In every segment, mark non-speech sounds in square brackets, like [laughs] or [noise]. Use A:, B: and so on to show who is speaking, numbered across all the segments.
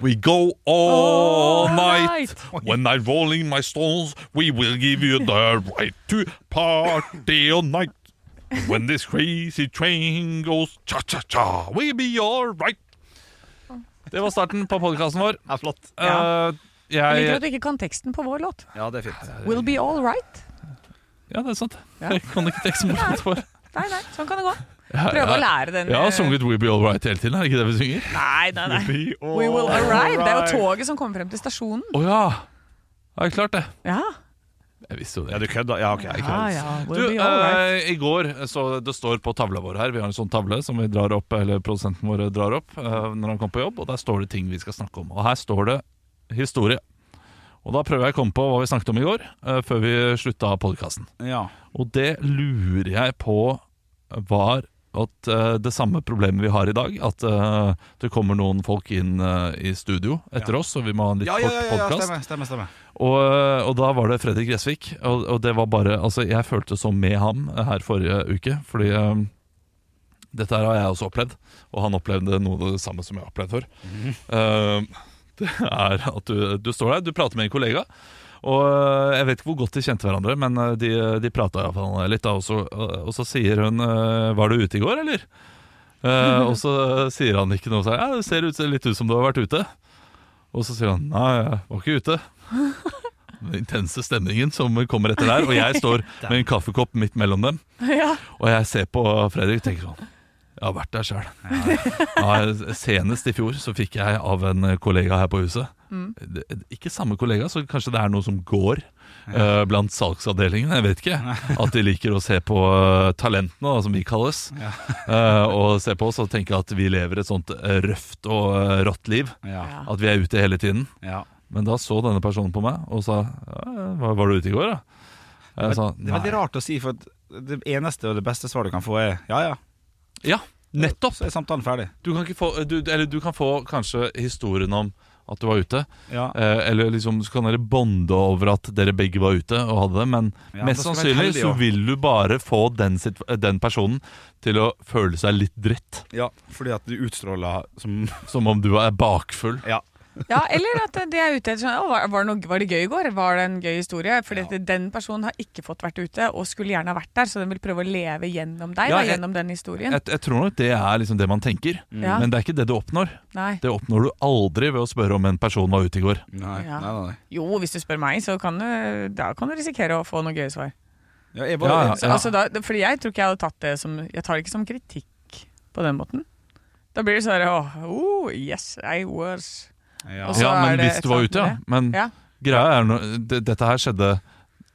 A: We go all night.
B: night.
A: When I'm rolling my stones, we will give you the right to party all night. When this crazy train goes cha-cha-cha, we'll be all right.
B: Det var starten på podkasten vår.
C: Det er flott.
B: Eh,
D: Jeg liker
B: jeg,
D: at du ikke kan teksten på vår låt.
C: Ja, det er fint.
D: Will be all right.
B: ja, det er sant.
D: Ja.
B: Jeg kan ikke teksten bortsett for.
D: Nei, nei, sånn kan det gå.
B: Jeg,
D: Prøve å
B: jeg,
D: lære den.
B: jeg har
D: eh,
B: sunget We'll Be All Right hele tiden, er det ikke det vi synger?
D: Nei, nei, nei. We will arrive. Det er jo toget som kommer frem til stasjonen.
B: Å ja. Jeg klart det.
D: Ja,
B: Jeg visste jo det.
C: Ja, du kødda? Ja, ok.
D: ja, ja.
B: Du,
D: We'll be all right. [laughs]
B: eh, I går så det står på tavla vår her Vi har en sånn tavle som vi drar opp Eller produsenten vår drar opp eh, Når han kommer på jobb Og der står det ting vi skal snakke om Og her står det historie Og da prøver jeg å komme på hva vi snakket om i går eh, Før vi slutta podcasten
C: Ja.
B: Og det lurer jeg på Var at eh, det samme problemet vi har i dag At eh, det kommer noen folk inn eh, i studio Etter oss Og vi må ha en litt
C: Ja, ja, ja,
B: kort
C: ja,
B: podcast
C: stemmer, stemmer, stemmer.
B: og, og da var det Fredrik Gressvik, og, og det var bare Altså, jeg følte så med ham her forrige uke, fordi um, dette her har jeg også opplevd, og han opplevde noe av det samme som jeg har opplevd før. Um, det er at du, du står der, du prater med en kollega, og uh, jeg vet ikke hvor godt de kjente hverandre, men uh, de, de prata iallfall litt, da, og så, uh, og så sier hun uh, 'Var du ute i går, eller?' Uh, og så sier han ikke noe, så ja, det ser ut, ser litt ut som du har vært ute. Og så sier han 'Nei, jeg var ikke ute' den intense stemningen som kommer etter der. Og jeg står med en kaffekopp midt mellom dem,
D: Ja.
B: og jeg ser på Fredrik og tenker sånn Jeg har vært der sjøl. Ja, senest i fjor så fikk jeg av en kollega her på huset det- Ikke samme kollega, så kanskje det er noe som går. eh, blant salgsavdelingen, jeg vet ikke. [laughs] At de liker å se på eh, talentene, da, som vi kalles. [laughs] eh, og se på oss og tenke at vi lever et sånt eh, røft og eh, rått liv.
C: Ja.
D: Ja.
B: At vi er ute hele tiden.
C: ja.
B: Men da så denne personen på meg og sa «Ja, var, 'Var du ute i går, da?' Jeg sa
C: Det er veldig
B: nei.
C: rart å si, for at det eneste og det beste svaret du kan få, er ja, ja.
B: Ja, nettopp!
C: Så er samtalen ferdig.
B: Du kan, ikke få, du, eller du kan få kanskje historien om at du var ute.
C: Ja.
B: Eh, eller liksom så kan dere bonde over at dere begge var ute og hadde det. Men
C: Ja,
B: mest
C: da skal vi være
B: sannsynlig
C: heldige,
B: så
C: ja.
B: vil du bare få den, situ- den personen til å føle seg litt dritt.
C: ja, fordi at du utstråler som
B: Som om du er bakfull.
C: Ja.
D: ja, eller at de er ute etter sånn «Å, var, var, det noe, var det gøy i går? Var det en gøy historie? Fordi at den personen har ikke fått vært ute, og skulle gjerne ha vært der, så den vil prøve å leve gjennom deg,
B: Ja,
D: da,
B: jeg-
D: gjennom den historien.
B: Jeg, jeg tror nok det er liksom det man tenker.
C: Mm.
D: ja,
B: Men det er ikke det du oppnår.
D: nei.
B: Det oppnår du aldri ved å spørre om en person var ute i går.
C: Nei,
D: Ja.
C: nei, nei. nei.
D: Jo, hvis du spør meg, så kan du, da kan du risikere å få noen gøye svar.
C: Ja, jeg
B: Ja, ja.
C: bare,
D: Så, altså, da, det- fordi jeg tror ikke jeg hadde tatt det som Jeg tar det ikke som kritikk på den måten. Da blir det sånn åh, oh, yes, I was
C: ja.
D: Og så
B: Ja,
D: er
B: men
D: det
B: hvis
D: et
B: du var
D: eller
B: ute, ja.
D: annet
B: Men
D: Ja.
B: greia er no, det, Dette her skjedde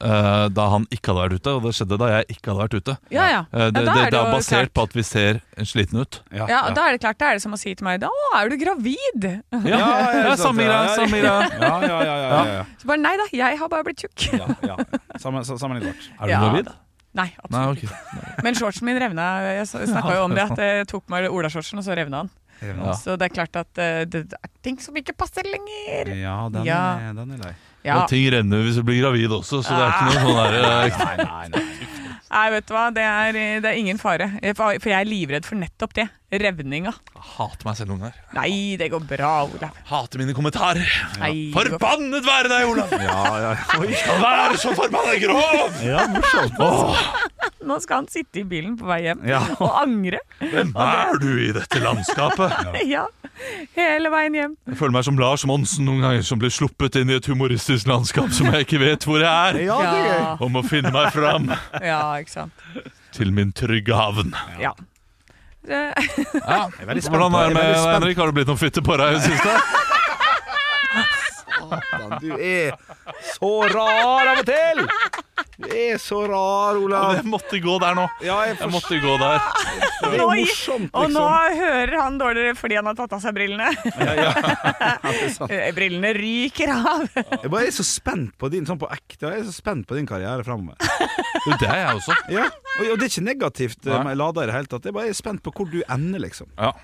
B: eh, da han ikke hadde vært ute, og det skjedde da jeg ikke hadde vært ute.
D: Ja, ja.
B: Eh, det,
D: da
B: det,
D: er
B: det
D: det
B: er
D: jo
B: basert
D: klart.
B: på at vi ser sliten ut.
C: Ja,
D: Ja, og da er det klart, da er det som å si til meg da «Å, er du gravid?
B: Ja,
C: ja,
B: det
C: ikke
B: er
C: sant,
B: samme
C: ja,
B: greia,
C: ja,
B: samme greia.
C: Ja, ja, ja, ja,
B: [laughs]
C: ja, ja.
D: Så bare nei da, jeg har bare blitt tjukk.
C: ja, ja. Sammen, sa- sammen litt rart.
B: Er du
D: Ja.
B: gravid?
D: Nei,
B: Nei, ok.
D: absolutt. ikke. Men shortsen min revna. Jeg snakka jo om det, at jeg tok meg Ola-shortsen, og så revna han.
B: Ja.
D: Så det er klart at eh, det er ting som ikke passer lenger.
C: Ja, den,
D: Ja.
C: Er, den er lei.
D: [laughs] Ja.
B: Og ting renner hvis du blir gravid også, så det er ikke noe sånn
D: [laughs]
B: der eh,
C: Nei, nei, nei.
D: Nei, vet du hva, det er, det er ingen fare. For for jeg er livredd for nettopp det. Revninga.
B: Hater meg selv, noen her.
D: Nei, det går bra, Olav.
B: Hater mine kommentarer.
D: Nei, det går-
B: Forbannet være deg, Olav!
C: Ja, ja. Oi.
B: Skal være så forbanna grov!
C: ja morsomt.
D: Nå skal han sitte i bilen på vei hjem
C: Ja.
D: [laughs] og angre.
B: Hvem er du i dette landskapet?
D: Ja, hele veien hjem.
B: Jeg føler meg som Lars Monsen noen ganger, som blir sluppet inn i et humoristisk landskap som jeg ikke vet hvor jeg er.
C: Ja, det er gøy.
D: Ja,
B: Om å finne meg fram
D: ja ikke sant.
B: til min trygge havn.
D: Ja. Eh,
C: Jeg er veldig spent.
B: Hvordan er det
C: Jeg er
B: med
C: veldig
B: deg,
C: spent.
B: Henrik? Har det blitt noen fitte på deg i det
C: [laughs]
B: siste?
C: Satan, du er så rar av og til! Du er så rar, Olav.
B: Jeg måtte gå der nå.
C: Ja, jeg
B: Jeg
C: forstår
B: måtte gå der.
C: det. er jo morsomt,
D: Og nå
C: liksom.
D: hører han dårligere fordi han har tatt av seg brillene. [laughs]
C: Ja, det er sant.
D: Eh, Brillene ryker av.
C: Jeg bare er så spent på din sånn på ekte. Jeg er så spent på din karriere framover.
B: Jo, det er jeg også.
C: Ja. Og, og det er ikke negativt eh,
B: Nei.
C: lada i det hele tatt. Jeg bare er spent på hvor du ender, liksom.
B: Ja.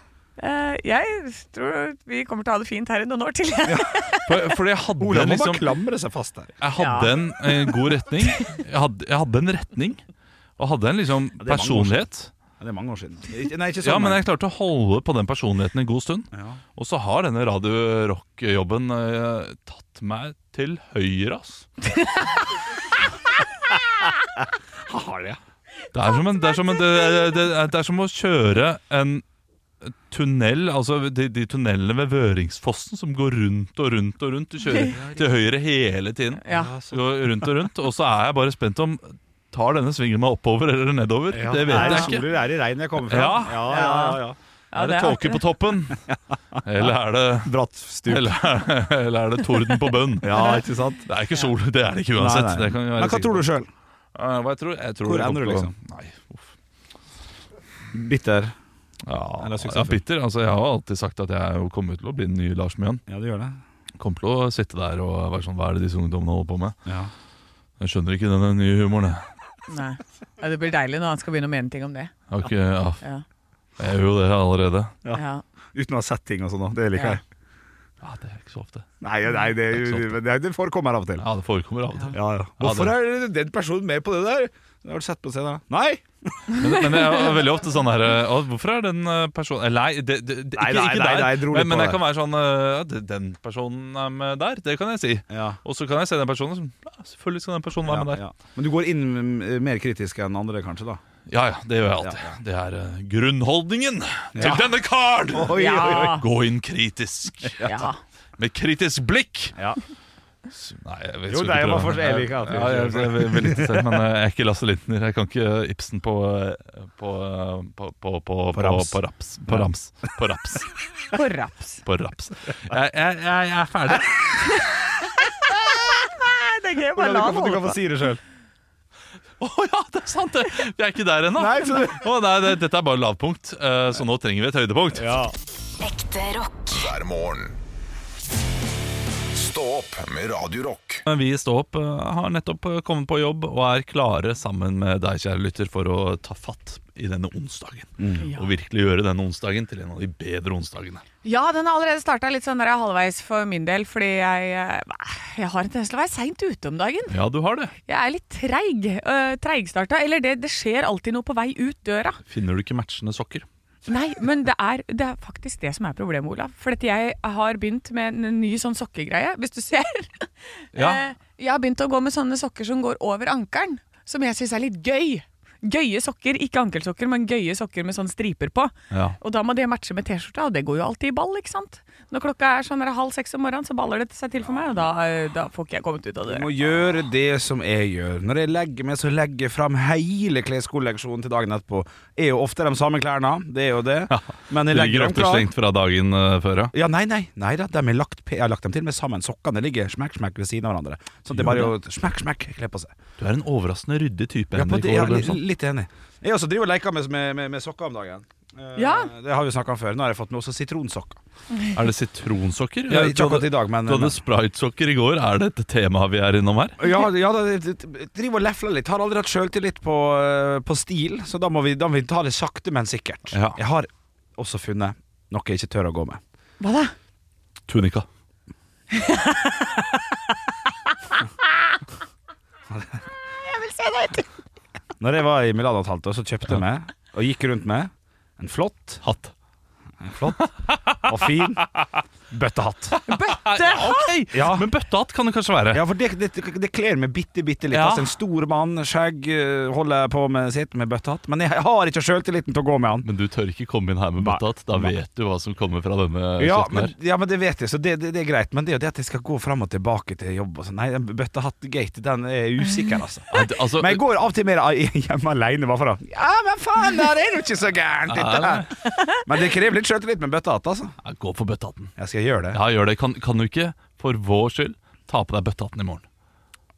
D: Eh, Jeg tror vi kommer til å ha det fint her i noen år til. [laughs] Ja,
B: For, fordi jeg hadde
C: Olav må
B: liksom
C: bare klamre seg fast her.
B: Jeg hadde
D: Ja.
B: en eh, god retning. Jeg hadde, jeg hadde en retning. Og hadde en liksom
C: det er mange år
B: personlighet.
C: Ja, det er mange år siden. Ikke- Nei, ikke sånn.
B: Ja, men jeg klarte å holde på den personligheten en god stund.
C: Ja.
B: Og så har denne Radio Rock-jobben eh, tatt meg til høyre, ass.
C: har det.
B: Det er som, en, det er som, en, det er, det er, det er som å kjøre en tunnel, altså de, de tunnelene ved Vøringsfossen som går rundt og rundt og rundt. Du kjører til høyre hele tiden. Så går rundt og rundt, og så er jeg bare spent om Tar denne svingen meg oppover eller nedover? Det vet jeg ikke.
C: Soler er i regn jeg kommer fra.
B: Ja.
C: ja, ja, ja, ja.
D: Ja,
B: er det,
D: artig,
B: tåke på [laughs] toppen? Eller er det,
C: Bratt stup.
B: eller, eller er det torden på bunnen?
C: Ja, ikke sant?
B: Det er ikke sol, det er det ikke uansett.
C: Nei, nei.
B: Det kan vi være
C: Men hva
B: sikre
C: tror
B: på.
C: du sjøl?
B: Ja, hva jeg tror, jeg tror
C: Hvor
B: det
C: ender du,
B: kommer på- Nei,
C: liksom?
B: uff.
C: Bitter.
B: Ja,
C: Eller
B: ja,
C: suksessfull.
B: bitter. Altså, jeg har alltid sagt at jeg kommer til å bli den nye Lars Mjøen.
C: Ja, du gjør det.
B: Kommer til å sitte der og være sånn Hva er det disse ungdommene holder på med?
C: Ja.
B: Jeg skjønner ikke denne nye humoren. jeg.
D: Nei. Ja, det blir deilig når han skal begynne å mene ting om det.
B: Jeg har ikke, ja,
D: Ja.
B: jeg gjør jo det allerede.
C: Ja.
D: Ja.
C: Uten å ha sett ting og sånn. da. Det liker
D: Ja.
C: jeg.
B: Ja, Det er ikke så ofte.
C: Nei, nei det,
B: Det er ikke sant.
C: det, det forekommer av og til.
B: Ja, Det forekommer av og til.
C: Ja, ja. Hvorfor er den personen med på det der? Har du sett på scenen? Nei!
B: Men, men jeg er veldig ofte sånn her «Å, Hvorfor er den eh, personen eh, Nei, det, det, det,
C: Nei,
B: ikke, ikke
C: nei, nei,
B: der.
C: nei, jeg dro litt
B: men, men
C: på
B: jeg
C: det.
B: kan være sånn eh, ja, det- Den personen er med der, det kan jeg si.
C: Ja.
B: Og så kan jeg se den personen som ja, Selvfølgelig skal den personen være med der.
C: Ja, ja. Men du går inn eh, mer kritisk enn andre, kanskje? da
B: Ja ja, det gjør jeg alltid. Det er eh, grunnholdningen til denne karen!
C: Oi,
D: Ja.
C: oi, oi.
B: Gå inn
C: [laughs]
B: kritisk.
D: Ja.
B: Med kritisk blikk!
C: Ja.
B: S- Nei, jeg vet
C: Jo,
B: ikke
C: nei, jeg
B: prøve.
C: var for- jeg vil ikke at du-
B: ja, jeg, jeg, vil- vil ikke selv, men eh, jeg er ikke Lasse Lintner. Jeg kan ikke Ibsen på eh, På, eh, på, på, på, på
C: rams.
B: På raps. På rams. På raps.
D: På raps.
B: På raps. Jeg, jeg, jeg, jeg er ferdig.
D: Nei, det er gøy å bare
C: Olav,
D: la
C: du,
D: han
C: kan, få- du
D: holde
C: kan
D: på.
C: få si det sjøl.
B: [laughs] Å ja, det er sant! det. Vi er ikke der ennå.
C: Nei, så du-
B: Å, nei, det, dette er bare lavpunkt, eh, så nå trenger vi et høydepunkt.
E: Ekte rock.
F: hver morgen. Stå opp med Radio Rock.
B: Men Vi i Stå opp eh, har nettopp eh, kommet på jobb og er klare sammen med deg, kjære lytter, for å ta fatt i denne onsdagen. Og virkelig gjøre denne onsdagen til en av de bedre onsdagene.
D: Ja, den har allerede starta litt sånn der halvveis for min del, fordi jeg, eh, jeg har en tendens til å være seint ute om dagen.
B: Ja, du har det.
D: Jeg er litt treig. øh, Treigstarta. Eller det, det skjer alltid noe på vei ut døra.
B: Finner du ikke matchende sokker?
D: Nei, men det er, det er faktisk det som er problemet, Olav. For at jeg har begynt med en ny sånn sokkegreie, hvis du ser.
C: [laughs]
B: Ja.
D: Eh, Jeg har begynt å gå med sånne sokker som går over ankelen, som jeg syns er litt gøy. Gøye sokker, ikke ankelsokker, men gøye sokker med sånne striper på.
B: Ja.
D: Og da må det matche med T-skjorta, og det går jo alltid i ball, ikke sant. Når klokka er sånn der halv seks om morgenen, så baller det seg til for meg, og da, eh, da får ikke jeg kommet ut av
C: Du
D: det.
C: må gjøre det som jeg gjør. Når jeg legger meg, så legger jeg fram hele kleskolleksjonen til dagen etterpå. Er jo ofte de samme klærne, det er jo det. Men
B: Det
C: jeg
B: ligger
C: legger dem
B: ofte
C: klar.
B: slengt fra dagen eh, før, ja.
C: Ja, nei, nei, nei da, de er lagt, pe- jeg har lagt dem til med sammen. Sokkene ligger smekk, smekk ved siden av hverandre. Så det er bare å smekk, smekk, kle på seg.
B: Du er en overraskende ryddig type,
C: Ja, på
B: Henrik.
C: det, ja,
B: Aarhus
C: li-
B: Lørensen.
C: litt enig. Jeg også driver og leker med, med, med, med sokker om dagen. Eh,
D: Ja.
C: Det har vi snakka om før. Nå har jeg fått med også sitronsokker.
B: Er det sitronsokker?
C: Ja,
B: du
C: ikke akkurat i
B: hadde,
C: dag, men
B: du hadde spritesokker i går. Er det et tema vi er innom her?
C: Ja, ja da, d- d- driver og lefler litt. Har aldri hatt sjøltillit på, eh, på stil, så da må, vi, da må vi ta det sakte, men sikkert.
B: Ja.
C: Jeg har også funnet noe jeg ikke tør å gå med.
D: Hva da?
B: Tunika.
C: Når jeg var i Milano et halvt år, så kjøpte jeg meg, og gikk rundt med, en flott,
B: Hatt.
C: en flott og fin bøttehatt.
B: [laughs] Ok,
C: Ja.
B: Men bøttehatt kan det kanskje være.
C: [laughs] Ja, for det, det, det kler meg bitte, bitte litt.
B: Ja.
C: Altså, en stor mann, skjegg, eh, holder på med sitt med bøttehatt. Men jeg har ikke sjøltilliten til å gå med han.
B: Men du tør ikke komme inn her med
C: Nei.
B: bøttehatt. Da
C: Nei.
B: vet du hva som kommer fra denne
C: Ja
B: kjeften
C: men,
B: her.
C: ja, men det vet jeg, så det, det, det er greit. Men det er jo det at jeg skal gå fram og tilbake til jobb og sånn. Nei, den bøttehatt-gate, den er jeg usikker, altså.
B: Ja, det- altså,
C: Men jeg går av og til mer i- [laughs] hjemme aleine, bare for å Ja, men faen, der er jo ikke så gærent, dette her. [laughs] Men det krever litt sjøltillit med bøttehatt, altså.
B: ja, gå for bøttehatten.
C: Jeg skal gjøre det.
B: Ja, gjør det. Kan, kan du ikke, for vår skyld, ta på deg bøttehatten i morgen?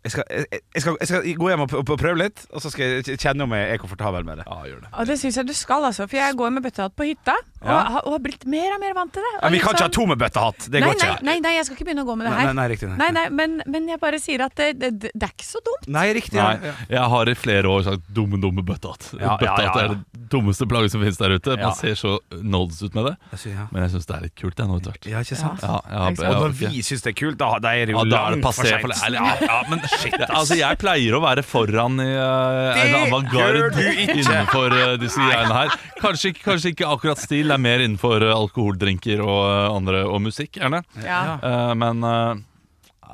C: Jeg skal, jeg, jeg, skal, jeg skal gå hjem og p- og prøve litt, og så skal jeg kjenne om jeg er komfortabel med det.
B: Ja, gjør det.
D: Og det syns jeg du skal, altså. For jeg går med bøttehatt på hytta, og,
C: Ja.
D: har- og har blitt mer og mer vant til det. Og
C: Ja, vi
D: litt
C: kan ikke
D: sånn-
C: ha to med bøttehatt. Det
D: nei,
C: går ikke.
D: Nei, nei, nei, jeg skal ikke begynne å gå med det
C: Nei,
D: her.
C: nei, nei, riktig, nei.
D: Nei, nei, men, men jeg bare sier at det, det, det er ikke så dumt.
C: Nei, riktig. ja.
B: Nei, jeg har i flere år sagt 'dumme, dumme bøttehatt'.
C: Ja, ja,
B: bøttehatt
C: ja, ja.
B: er det dummeste plagget som finnes der ute.
C: Ja.
B: Man ser så nods ut med det,
C: Jeg sier ja.
B: men jeg syns det er litt kult. Jeg, nå etter hvert.
C: ja, ikke sant?
B: Ja, ja,
D: Og
C: Og
B: ja,
C: når
B: ok.
C: vi syns det er kult, da, da er det jo
B: Ja, da er det
C: langt for
B: passé for
C: seint.
B: eller, ja, ja,
C: [laughs]
B: men shit ass. Altså, jeg pleier å være foran i uh, en avantgarde
C: gjør du ikke.
B: innenfor eh, disse greiene her. Kanskje, ikke- kanskje ikke akkurat stil, det er mer innenfor eh, alkoholdrinker og eh, andre og musikk, gjerne.
D: Ja,
B: Eh, men eh,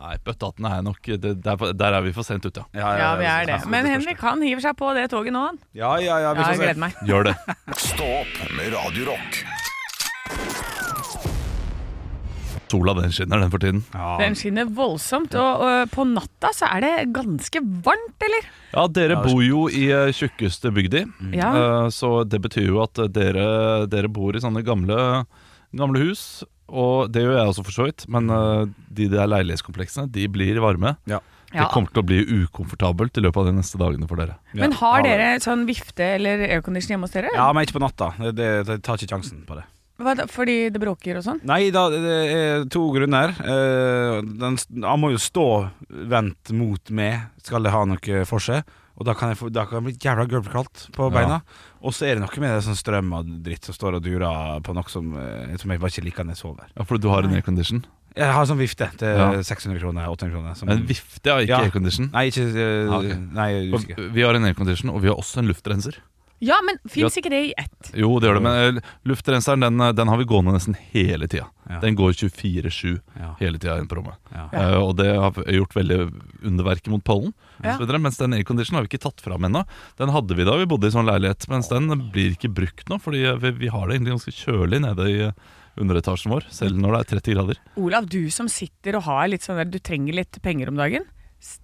B: nei, bøttehatten er nok det, der, der er vi for sent ute, ja.
C: Ja,
D: ja vi er det.
C: så- så-
D: Men
C: så-
D: Henrik han hiver seg på det toget nå, han.
C: Ja, ja, ja, vi
D: Ja,
C: får
D: jeg
C: se.
D: gleder meg.
B: Gjør det.
F: Stå opp med Radio Rock.
B: Sola den skinner, den for tiden.
C: Ja.
D: Den skinner voldsomt, og, og på natta så er det ganske varmt, eller?
B: Ja, dere bor jo i eh, tjukkeste bygda,
C: Mm.
D: Ja.
C: Øh,
B: eh, så det betyr jo at dere, dere bor i sånne gamle, gamle hus. Og det gjør jeg også for så vidt,
D: Mm.
B: men eh, de der leilighetskompleksene de blir varme.
C: Ja.
D: Ja.
B: Det kommer til å bli ukomfortabelt i løpet av de neste dagene for dere.
D: Men har
C: Ja, det-
D: dere sånn vifte eller aircondition hjemme hos dere?
C: Ja, men ikke på natta. Det, det, det tar ikke sjansen på det.
D: Hva da, fordi det bråker og sånn?
C: Nei, da, det er to grunner. Eh, Den, han må jo stå vendt mot meg, skal det ha noe for seg. Og da kan jeg få da kan jeg bli jævla gulvkaldt på
B: Ja.
C: beina. Og så er det noe med det sånn strøm og dritt som står og durer på noe som, eh, som jeg bare ikke liker når jeg sover.
B: Ja, For du har en aircondition.
C: Jeg har sånn vifte til
B: Ja.
C: 600 kroner, 800 kroner. som-
B: En vifte, ja, ikke
C: Ja.
B: aircondition.
C: Nei, ikke eh,
B: Ah, ok.
C: Nei, jeg er
B: Og
C: usikker.
B: Vi har en aircondition, og vi har også en luftrenser.
D: Ja, men fins ikke det i ett?
B: Jo, det gjør det, men eh, luftrenseren den, eh, den har vi gående nesten hele tida.
C: Ja.
B: Den går 24-7
C: Ja.
B: hele tida inn på rommet.
C: Ja.
B: Eh, og det har gjort veldig underverket mot pollen.
D: Ja.
B: og så videre, Mens den airconditionen har vi ikke tatt fram ennå. Den hadde vi da vi bodde i sånn leilighet, mens den blir ikke brukt nå. Fordi eh, vi, vi har det egentlig ganske kjølig nede i eh, underetasjen vår, selv når det er 30 grader.
D: Olav, du som sitter og har litt sånn der, du trenger litt penger om dagen.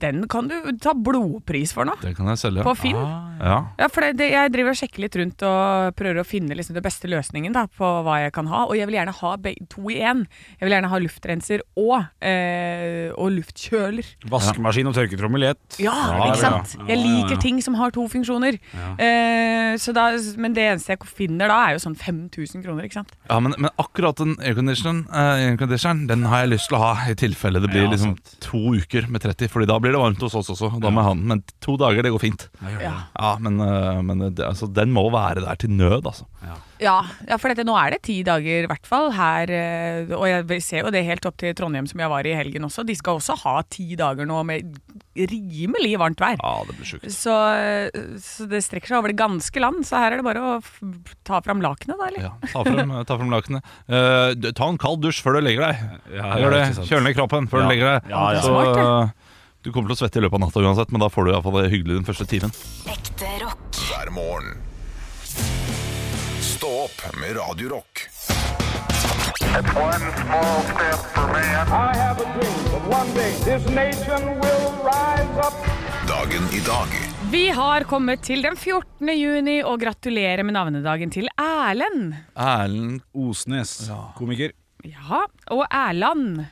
D: Den kan du ta blodpris for nå,
B: Det kan jeg selge.
D: på Finn.
B: Ja.
D: Ja, for det, det, Jeg driver og sjekker litt rundt og prøver å finne liksom, den beste løsningen da, på hva jeg kan ha. Og jeg vil gjerne ha be to i én. Jeg vil gjerne ha luftrenser og, eh, og luftkjøler.
C: Vaskemaskin og tørketrommel i ett.
D: Ja,
C: ja,
D: ikke sant?
C: ja.
D: Jeg
C: Ja, ja, ja.
D: liker ting som har to funksjoner. Eh, så da, men det eneste jeg finner da, er jo sånn 5000 kroner, ikke sant.
B: Ja, men, men akkurat den airconditionen eh, airconditioneren, Den har jeg lyst til å ha i tilfelle det blir
C: Ja,
B: liksom
C: sant.
B: to uker med 30. Fordi da blir det varmt hos oss også. og Da må jeg ha den. Men to dager, det går fint.
D: Ja,
B: Ja, Men, eh, men det, altså, den må være der til nød, altså.
D: ja, ja for dette, nå er det ti dager i hvert fall her. eh, og jeg ser jo det helt opp til Trondheim som jeg var i helgen også. De skal også ha ti dager nå med rimelig varmt vær.
B: Ja, det blir sjukt.
D: Så, så det strekker seg over det ganske land, så her er det bare å f ta fram lakenet, da, eller?
B: Ja, ta frem, ta frem lakenet. Eh, du- ta en kald dusj før du legger deg.
C: Ja,
B: Gjør
C: ja,
B: det.
C: ikke sant.
B: Kjøl ned kroppen før
C: Ja.
B: du legger deg.
C: Ja, ja.
B: Så, eh, du kommer til å svette i løpet av natta uansett, men da får du i hvert fall det hyggelig den første timen.
E: Ekte rock.
F: hver morgen. Stå opp med Radio Rock.
G: One small step for man. I have a dream that one day this nation will rise up.
F: Dagen i dag
D: Vi har kommet til den 14. juni, og gratulerer med navnedagen til Erlend.
B: Erlend
C: Osnes, komiker.
D: Ja, og Erland.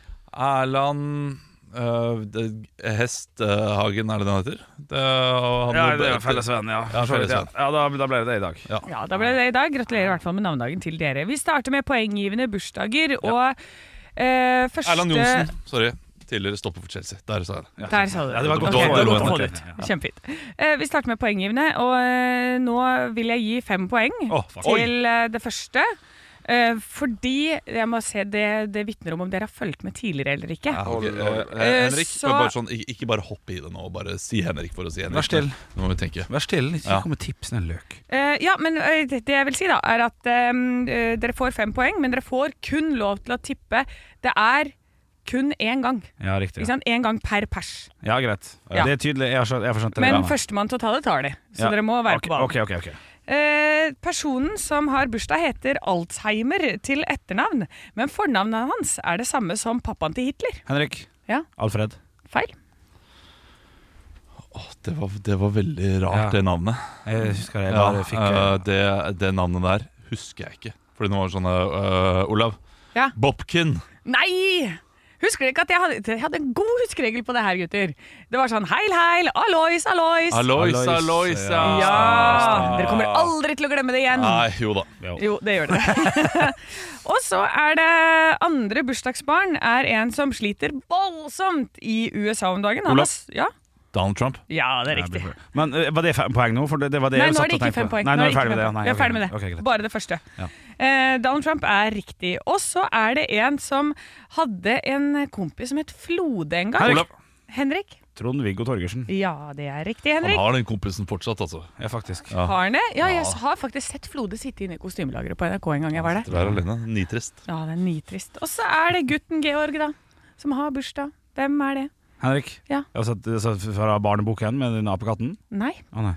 B: Erland øh, det- Hesthagen, er det den heter? Det, og han-
C: Ja, det er fellesvenn, ja.
B: Ja, fellesvenn.
C: Ja, da, da ble det det i dag.
D: Ja, da ble det i dag. Gratulerer i hvert fall med navnedagen til dere. Vi starter med poenggivende bursdager, og eh, første
B: Erland Johnsen. Sorry. Tidligere stopper for Chelsea. Der sa jeg det.
D: Der sa du det.
C: det var
D: Ok,
B: å
C: godt
B: få
D: det var
B: det
D: godt å
B: lov.
D: få det ut. Kjempefint. Eh, vi starter med poenggivende, og eh, nå vil jeg gi fem poeng
B: Å, fuck.
D: til eh, det første. Eh, fordi jeg må se det, det vitner om om dere har fulgt med tidligere eller ikke.
B: Ja, ok, øh,
D: Eh,
B: Henrik,
D: så-
B: bare sånn, ikke ikke bare hopp i det nå. Bare si Henrik for å si Henrik.
C: Vær still.
B: Nå må vi tenke.
C: Vær stille, ikke
B: Ja.
C: kom med tips, den løk.
D: Eh, ja, men eh, det det jeg vil si da, er at eh, eh, dere får fem poeng, men dere får kun lov til å tippe. Det er kun én gang.
C: Ja, riktig.
D: Ikke sant? Én gang per pers.
C: Ja, greit.
D: Ja.
C: Det er tydelig. Jeg har skjønt, jeg har skjønt det.
D: Men
C: Ja.
D: førstemann til å ta det tar det. Så
C: Ja.
D: dere må være
C: Ok,
D: på banen.
C: Ok, ok, ok.
D: Eh, personen som har bursdag heter Alzheimer til etternavn, men fornavnet hans er det samme som pappaen til Hitler.
C: Henrik.
D: Ja.
C: Alfred.
D: Feil.
B: Åh, det, var, det var veldig rart,
C: Ja.
B: det navnet.
C: Jeg husker det. Jeg
B: Ja,
C: bare fikk eh,
B: øh, det, det navnet der eh, husker jeg ikke. Fordi nå var det sånn øh, Olav.
D: Ja.
B: Bobkin.
D: Nei! Husker dere ikke at jeg hadde, jeg hadde en god huskeregel på det her, gutter? Det var sånn heil, heil, allois, allois.
B: Alois,
C: Alois,
B: Alois, ja.
D: Ja! Dere kommer aldri til å glemme det igjen.
B: Nei, jo da.
D: Jo, det gjør dere. [laughs] og så er det andre bursdagsbarn er en som sliter voldsomt i USA om dagen. Han
B: Olav.
D: har s- Ja?
B: Donald Trump.
D: ja, det er riktig.
C: Men eh, var det fem poeng nå? For det, det var det
D: Nei,
C: jeg
D: nå
C: satt
D: er det
C: og
D: ikke
C: tenkte
D: fem
C: på.
D: poeng.
C: Nei, nå er
D: det
C: vi
D: ikke
C: ferdig med det.
D: fem
C: ja. Nei,
D: poeng. Vi er
C: ok,
D: ferdig med det.
C: ok, greit.
D: Bare det første.
C: Ja.
D: Eh, Donald Trump er riktig. Og så er det en som hadde en kompis som het Flode en gang.
C: Henrik.
D: Henrik?
C: Trond-Viggo Torgersen.
D: Ja, det er riktig,
B: Han
D: Henrik.
B: har den kompisen fortsatt, altså.
C: Ja, faktisk.
D: Har han det? Ja, jeg har faktisk sett Flode sitte inne i kostymelageret på NRK en gang jeg var der.
B: Sitter der alene. Nitrist.
D: Ja, det er nitrist. Og så er det gutten Georg, da. Som har bursdag. Hvem er det?
C: Henrik,
D: Ja.
C: jeg har sett, sett fra barneboken med den apekatten.
D: Nei.
C: Å nei.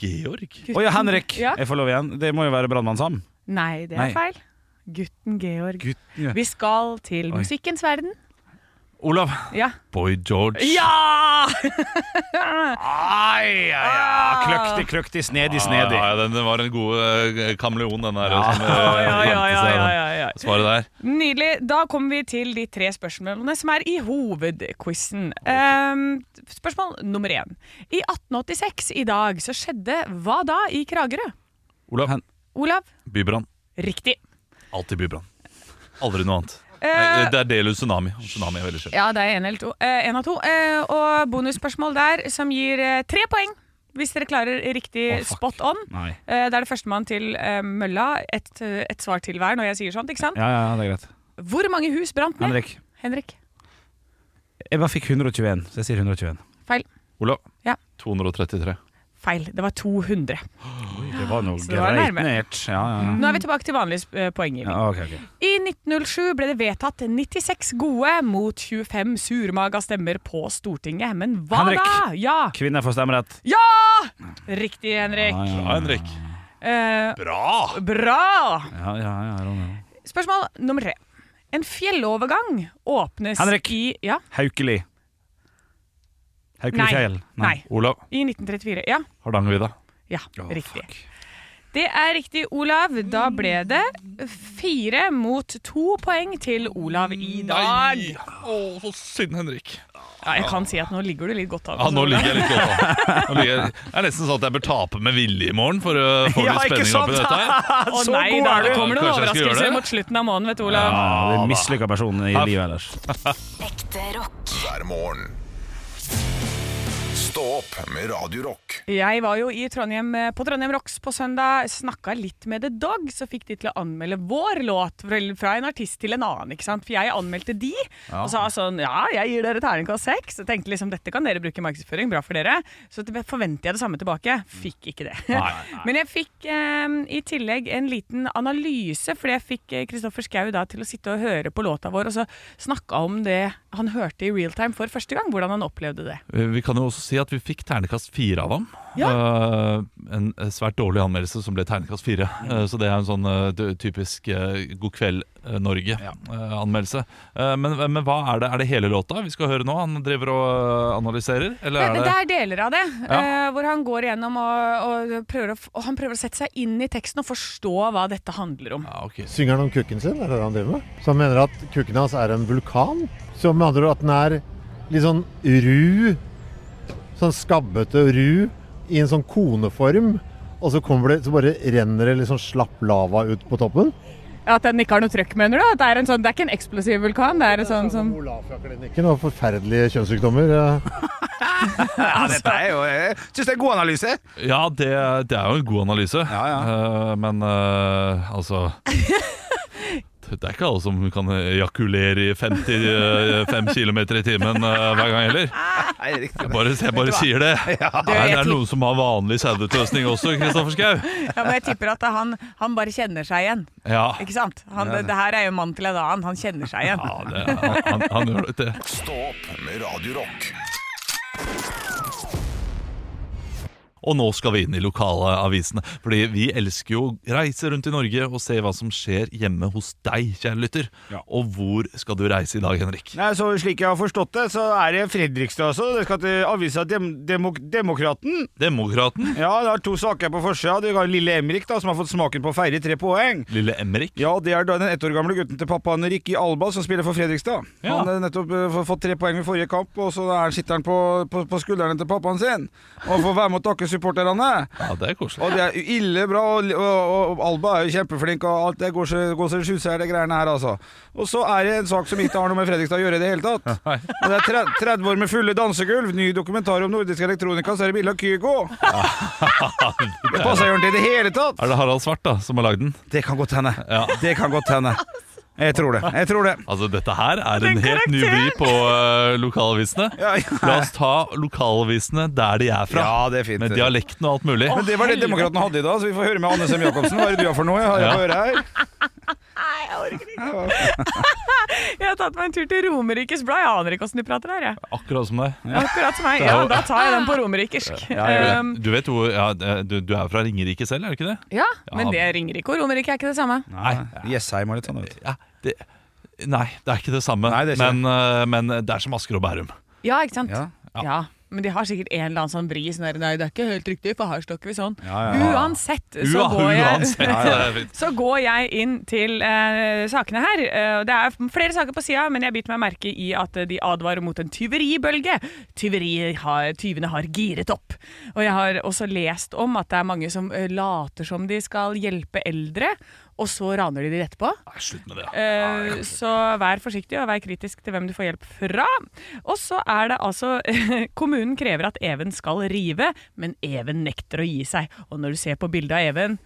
B: Georg?
C: Å ja, Henrik!
D: Ja.
C: Jeg får lov igjen. Det må jo være Brannmann Sam.
D: Nei, det er
C: Nei.
D: feil. Gutten Georg.
C: Gutten, ja.
D: Vi skal til musikkens verden.
B: Olav.
D: Ja!
B: Boy George.
D: ja!
C: Ai, ja, ja.
D: Ah.
C: Kløktig, kløktig, snedig,
B: Ja,
C: snedig.
B: ja, den var en god eh, kameleon, den der.
C: Ja.
B: som, eh,
D: Ja, ja,
B: vant
D: ja,
B: seg,
D: ja,
B: da.
D: ja, ja.
B: Svaret der.
D: Nydelig. Da kommer vi til de tre spørsmålene som er i hovedquizen. Ehm, spørsmål nummer én. I 1886 i dag så skjedde hva da i Kragerø?
B: Olav.
D: Olav?
B: Bybrann.
D: Riktig.
B: Alltid bybrann. Aldri noe annet.
D: Eh,
B: Nei, det er del av tsunami. Tsunami er veldig sjelden.
D: Ja, det er én eller to. Eh, en av to. Eh, og bonusspørsmål der som gir eh, tre poeng. Hvis dere klarer riktig
C: Å, fuck.
D: spot on.
C: Nei.
D: Eh, det er det førstemann til eh, mølla. Et, eh, et svar til hver når jeg sier sånt. ikke sant?
C: Ja, ja, det er greit.
D: Hvor mange hus brant ned?
C: Henrik.
D: Henrik.
C: Jeg bare fikk 121, så jeg sier 121.
D: Feil.
B: Olav.
D: Ja.
B: 233.
D: Feil. Det var 200.
C: Det var noe
D: Så det var
C: greit
D: nærme.
C: nært. Ja, ja, ja.
D: Nå er vi tilbake til vanlig eh, poenggivning.
C: ja ok, ok.
D: I 1907 ble det vedtatt 96 gode mot 25 surmaga stemmer på Stortinget. Men hva
C: Henrik.
D: da? Ja!
C: Kvinner får stemmerett.
D: Ja! Riktig, Henrik.
C: Ja, ja,
B: Bra, Henrik.
D: Eh,
B: Bra!
D: bra!
C: ja, ja, ja, Ronny.
D: Spørsmål nummer tre. En fjellovergang åpnes
C: Henrik.
D: i ja,
C: Haukeli. Haukeli
D: Nei.
C: Fjell.
D: Nei.
B: Olav.
D: I 1934. Ja,
B: Hardangervidda.
D: ja
C: Å,
D: riktig.
C: fuck.
D: Det er riktig, Olav. Da ble det fire mot to poeng til Olav i dag.
B: Å, så synd, Henrik.
D: Ja, jeg kan si at nå ligger du litt godt an.
B: Ja, nå
D: Olav.
B: ligger jeg litt godt an. Nå ligger jeg- Det er nesten sånn at jeg bør tape med vilje i morgen for å få
C: Ja,
B: litt
C: ikke
B: spenning oppi
C: sant?
B: dette her.
D: Å nei, da, det kommer noen
B: Kanskje jeg skal gjøre
D: overraskelser
B: det?
D: mot slutten av måneden, vet du, Olav.
C: Ja, Ah, det er en mislykka person i livet ellers.
E: Ekte rock.
F: hver morgen. Stå opp med Radio Rock.
D: Jeg var jo i Trondheim, eh, på Trondheim Rocks på søndag, snakka litt med The Dog, så fikk de til å anmelde vår låt fra- fra en artist til en annen, ikke sant. For jeg anmeldte de, og sa sånn ja, jeg gir dere terningkast seks. Og tenkte liksom dette kan dere bruke i markedsføring, bra for dere. Så det- forventer jeg det samme tilbake. Fikk ikke det. [laughs] Men jeg fikk eh, i tillegg en liten analyse, fordi jeg fikk eh, Kristoffer Schau da til å sitte og høre på låta vår, og så snakka om det han hørte i real time for første gang, hvordan han opplevde det.
B: Vi kan jo også si at vi fikk ternekast fire av ham. Eh, en svært dårlig anmeldelse som ble ternekast fire. Eh, så det er en sånn eh, d- typisk eh, God kveld eh, Norge-anmeldelse. men, men hva er det? Er det hele låta vi skal høre nå? Han driver og eh, analyserer? Eller er
D: Det,
B: det
D: det er deler av det,
B: Ja.
D: eh, hvor han går igjennom og, og, prøver å, f- og han prøver å sette seg inn i teksten og forstå hva dette handler om.
B: ja, ok.
H: Synger han om kukken sin, er det det han driver med? Så han mener at kukken hans er en vulkan? Så med andre ord at den er litt sånn ru, sånn skabbete og ru, i en sånn koneform. Og så, kommer det, så bare renner det litt sånn slapp lava ut på toppen.
D: At den ikke har noe trøkk, mener du? At det, er en sånn, det er ikke en eksplosiv vulkan? Det er en sånn som
H: Olafia-klinikken og forferdelige kjønnssykdommer. eh.
C: Ja, dette er jo Jeg syns det er god analyse.
B: Ja, det, det er jo en god analyse.
C: Ja,
B: Eh, men eh, altså Det er ikke alle som kan ejakulere i 55 km i timen eh, hver gang heller.
C: Nei, riktig.
B: Jeg bare, jeg bare sier
C: [laughs]
B: det. Det er, det er noen som har vanlig saueutløsning også, Kristoffer Schau.
D: Ja, men jeg tipper at han, han bare kjenner seg igjen.
B: Ja,
D: Ikke sant? Han, det, det her er jo mann til en annen. Han kjenner seg igjen.
B: ja det, han, han, han gjør det.
F: Stå opp med Radio Rock.
B: Og nå skal vi inn i lokalavisene. Fordi vi elsker jo å reise rundt i Norge og se hva som skjer hjemme hos deg, kjære lytter.
C: Ja.
B: Og hvor skal du reise i dag, Henrik?
C: Nei, så Slik jeg har forstått det, så er det Fredrikstad også. Det skal til avisa Dem Demok Demokraten.
B: Demokraten?
C: Ja, det har to saker på forsida. Du har lille Emrik, da, som har fått smaken på å feire tre poeng.
B: Lille Emrik?
C: Ja, det er da den ett år gamle gutten til pappaen Ricky Alba, som spiller for Fredrikstad.
B: Ja.
C: Han har nettopp eh, fått tre poeng i forrige kamp, og så er, sitter han på, på, på skuldrene til pappaen sin og får være med å takke supporterne.
B: Ja, det er koselig.
C: Og det er ille bra, og, og, og Alba er jo kjempeflink, og alt det går så går så det suser, det greiene her, altså. Og så er det en sak som ikke har noe med Fredrikstad å gjøre i det hele
B: [laughs]
C: tatt. Og det er tre- 30 år med fulle dansegulv, ny dokumentar om nordisk elektronika, så er det bilde
B: [laughs]
C: av Kygo. Det passer jo ikke i det hele tatt.
B: Er det Harald Svart da, som har lagd den?
C: Det kan godt hende.
B: Ja.
C: Det kan godt hende. Jeg tror det. Jeg tror det.
B: Altså, dette her er
D: Den
B: en helt ny vri
D: karakteren!
B: på eh, lokalavisene.
C: Ja, ja.
B: La oss ta lokalavisene der de er fra.
C: Ja, det er fint.
B: Med dialekten og alt mulig.
C: Men det var det Demokratene hadde i dag, så vi får høre med Anne Sem Jacobsen. Hva er det du har for noe? Har jeg
B: Ja.
C: på øret her?
D: Nei, jeg orker ikke. Jeg har tatt meg en tur til Romerikes blad. Jeg aner ikke åssen de prater her. Jeg.
B: Akkurat som deg.
D: Akkurat som meg.
B: Det er
D: Ja,
B: jo-
D: da tar jeg den på romerikersk. Um,
B: Du vet hvor ja, du, du er jo fra Ringerike selv, er du ikke det?
D: ja, men
B: Ja.
D: det Ringerike og Romerike er ikke det samme.
C: Nei. Jessheim og litt sånn. Vet. du.
B: Ja, det Nei, det er ikke det samme.
C: Nei, det er ikke
B: men, eh, men det er som Asker og Bærum.
D: Ja, ikke sant?
C: Ja.
B: Ja.
D: Ja, Men de har sikkert en eller annen sånn vri sånn der, Nei, det er ikke helt riktig, for her snakker vi sånn.
C: Ja, ja, ja.
D: Uansett, så
B: Ua-
D: går [laughs] jeg
B: Uansett. Ja, det er fint.
D: Så går jeg inn til eh, sakene her. Eh, det er flere saker på sida, men jeg biter meg merke i at eh, de advarer mot en tyveribølge. Tyveri har, tyvene har giret opp. Og jeg har også lest om at det er mange som eh, later som de skal hjelpe eldre, og så raner de de etterpå.
B: Nei, Slutt med det. da.
D: Eh, Så vær forsiktig og vær kritisk til hvem du får hjelp fra. Og så er det altså [laughs] Kommunen krever at Even skal rive, men Even nekter å gi seg. Og når du ser på bildet av Even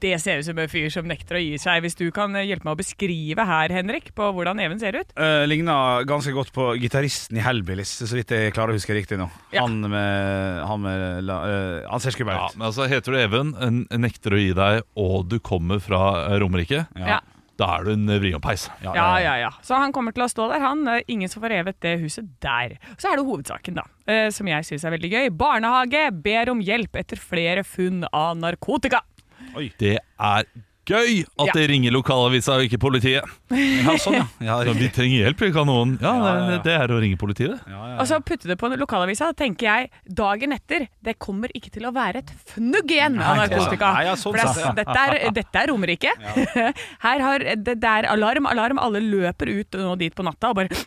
D: det ser ut som en fyr som nekter å gi seg. Hvis du kan eh, hjelpe meg å beskrive her, Henrik, på hvordan Even ser ut.
C: Uh, Ligna ganske godt på gitaristen i Hellbillies, så vidt jeg klarer å huske riktig nå.
D: Ja.
C: Han med, han, med la, eh, han ser skummel
B: Ja,
C: ut.
B: men altså, Heter du Even, en- en nekter å gi deg, og du kommer fra eh, Romerike,
D: Ja.
B: da er du en vriompeis. Ja,
D: Ja, ja, ja. Så han kommer til å stå der, han. Eh, Ingen som får revet det huset der. Så er det hovedsaken, da. eh, Som jeg syns er veldig gøy. Barnehage ber om hjelp etter flere funn av narkotika.
B: Det er gøy at
D: Ja.
B: det ringer lokalavisa og ikke politiet.
C: Ja, sånn, ja. ja,
B: [laughs] Så vi
C: riktig.
B: trenger hjelp, vi kan noen. Ja,
C: Ja, ja, ja.
B: Det, det er å ringe politiet, det.
C: ja, ja.
D: Og så putte det på lokalavisa, da tenker jeg dagen etter Det kommer ikke til å være et fnugg igjen av
C: Nei, det er sant.
D: narkotika.
C: Nei, ja,
D: For
C: sånn
D: det er-
C: sant.
D: dette, er, dette er Romerike. [laughs] Her har det, det er alarm, alarm. Alle løper ut nå dit på natta og bare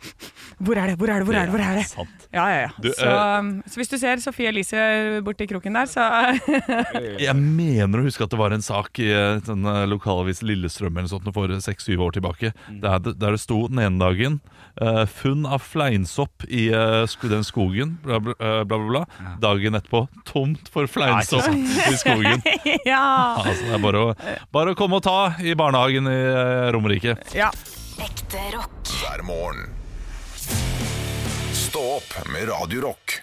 D: Hvor er det, hvor er det, hvor er det? Hvor er det?
B: Sant.
D: Ja, ja, ja.
B: Du,
D: Så,
C: eh,
D: så hvis du ser Sofie Elise borti kroken der, så [laughs]
B: Jeg mener å huske at det var en sak i eh, den eh, lokalavisen Lillestrøm eller sånt, for seks-syv år tilbake,
C: Mm.
B: der, det, der det sto den ene dagen eh, 'Funn av fleinsopp i eh, sk- den skogen', bla, bla, eh, bla, bla, bla. Dagen etterpå 'Tomt for fleinsopp i skogen'.
C: [laughs]
D: Ja.
B: Altså, det er bare å, bare å komme og ta i barnehagen i eh, Romerike.
D: ja.
E: Ekte rock.
F: hver morgen. Stå opp med Radio Rock.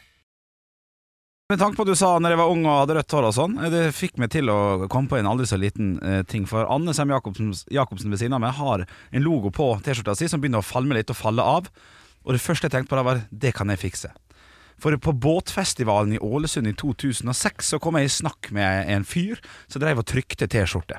C: Med tanke på at du sa når jeg var ung og hadde rødt hår og sånn, eh, det fikk meg til å komme på en aldri så liten eh, ting. For Anne Sem Jacobsen, Jacobsen ved siden av meg har en logo på T-skjorta si som begynner å falme litt og falle av. Og det første jeg tenkte på da var det kan jeg fikse. For på båtfestivalen i Ålesund i 2006 så kom jeg i snakk med en fyr som drev og trykte T-skjorte.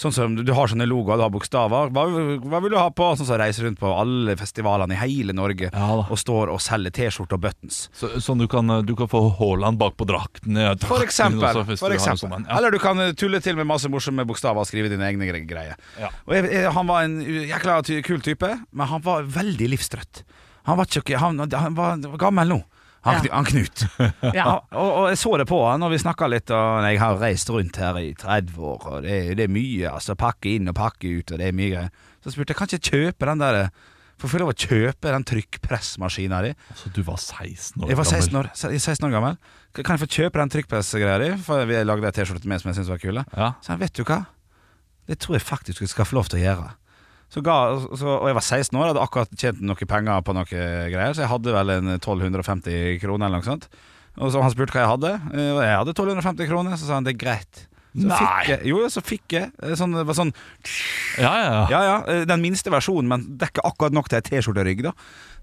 C: Sånn som du- du har sånne logoer, du har bokstaver. Hva, hva vil du ha på? Sånn som reiser rundt på alle festivalene i hele Norge
B: Ja da.
C: og står og selger T-skjorte og buttons.
B: Så, sånn du kan, du kan få Haaland bak på drakten. ja, drakten
C: For
B: også,
C: eksempel.
B: hvis
C: For
B: du har en
C: eksempel.
B: sånn en. ja.
C: Eller du kan eh, tulle til med masse morsomme bokstaver og skrive dine egne gre- greier.
B: Ja.
C: Og jeg, jeg, han var en u- jækla ty kul type, men han var veldig livstrøtt. Han var, ikke, han, han var gammel nå. Han, Knu- han Knut.
B: [laughs]
D: ja.
C: Ja, og, og jeg så det på han, og vi snakka litt. Og jeg har reist rundt her i 30 år, og det, det er mye. altså Pakke inn og pakke ut, og det er mye greier. Så spurte jeg kan ikke jeg kjøpe den der eh, Får jeg lov å kjøpe den trykkpressmaskina di?
B: Så du var 16 år
C: Jeg var 16
B: gammel.
C: år, se- 16 år gammel. Kan kan jeg få kjøpe den trykkpressgreia di? For vi lagde ei T-skjorte med som jeg syntes var kule.
B: Ja.
C: Så han, vet du hva? Det tror jeg faktisk jeg skal få lov til å gjøre. Så ga, så, og jeg var 16 år, hadde akkurat tjent noe penger på noe greier, så jeg hadde vel en 1250 kroner eller noe sånt. Og så han spurte hva jeg hadde, eh, og jeg hadde 1250 kroner, så sa han det er greit. Så
B: Nei.
C: fikk jeg, jo, så fikk jeg eh, sånn, det var sånn
B: Ja, ja, ja.
C: Ja, ja, eh, den minste versjonen, men dekker akkurat nok til ei T-skjorterygg. da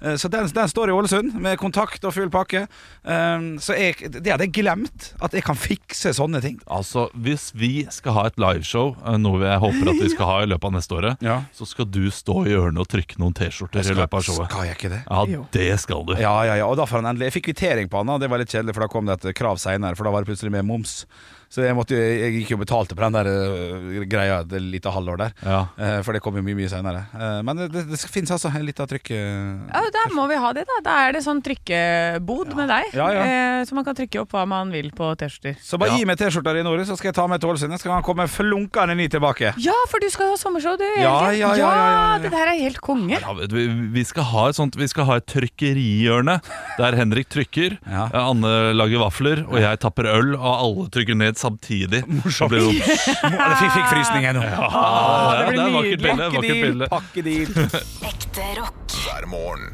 C: Eh, Så den, den står i Ålesund, med kontakt og full pakke. Eh, Så jeg, det hadde jeg glemt, at jeg kan fikse sånne ting.
B: Altså, hvis vi skal ha et liveshow, eh, noe jeg håper at vi skal ha i løpet av neste året,
C: Ja.
B: så skal du stå i hjørnet og trykke noen T-skjorter i løpet av showet.
C: Skal jeg ikke det?
B: Ja, det skal du.
C: Ja, ja, ja, og da får han endelig Jeg fikk kvittering på han, da. det var litt kjedelig, for da kom det et krav seinere, for da var det plutselig mer moms. Så jeg, måtte, jo- jeg gikk jo og betalte på den der øh, greia et lite halvår der.
B: Ja.
C: Eh, For det kom jo mye mye seinere. Men det, det fins altså en liten trykk
D: Ja, Der må vi ha det, da. Da er det sånn trykkebod med deg.
C: Ja, ja.
D: Eh, så man kan trykke opp hva man vil på T-skjorter.
C: Så bare gi meg T-skjorta di, Nore, så skal jeg ta med til Ålesund. Så kan han komme flunkende ny tilbake.
D: Ja, for du skal jo ha sommershow, du.
C: Ja,
D: Jørgen.
C: ja, ja, ja, ja, ja.
D: Det der er helt konge.
B: Ja, vet du, vi- vi skal ha et sånt Vi skal ha et trykkerihjørne der Henrik trykker,
C: Ja.
B: eh, Anne lager vafler, og jeg tapper øl, og alle trykker ned samtidig. Morsomt. Det blir sånn,
C: Eller fikk, fikk frysningen nå.
B: ah,
D: det blir
B: der var ikke
D: nydelig.
B: bildet, var ikke
C: Pakkedeal,
B: bildet.
C: [laughs] pakkedeal.
E: Ekte rock.
F: hver morgen.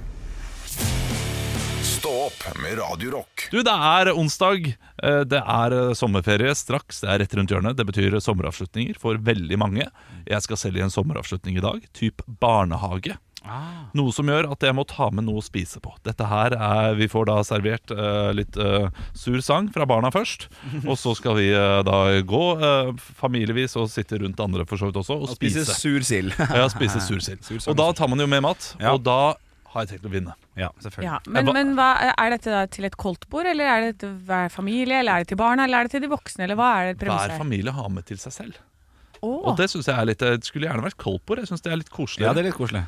F: Stå opp med Radio Rock.
B: Du, det er onsdag. Eh, Det er eh, sommerferie straks. Det er rett rundt hjørnet. Det betyr sommeravslutninger for veldig mange. Jeg skal selv i en sommeravslutning i dag, typ barnehage.
C: Ah.
B: Noe som gjør at jeg må ta med noe å spise på. Dette her er, Vi får da servert eh, litt eh, sur sang fra barna først. Og så skal vi eh, da gå eh, familievis og sitte rundt andre for så vidt også og,
C: Spise
B: spise.
C: sur [laughs] sild.
B: ja, spise sursild.
C: [laughs] Sur sang.
B: Og da tar man jo med mat.
C: Ja.
B: Og da har jeg tenkt å vinne.
C: Ja, selvfølgelig.
D: Ja, men,
B: Jeg ba-
D: men hva, er dette da til et koldtbord, eller er det til hver familie, eller er det til barna, eller er det til de voksne, eller hva er det
B: Hver
D: premisset her?
B: familie har med til seg selv.
D: Åh.
B: Og det synes jeg er litt Det skulle gjerne vært koldtbord. Jeg synes det er litt koselig.
C: Ja, det er litt koselig.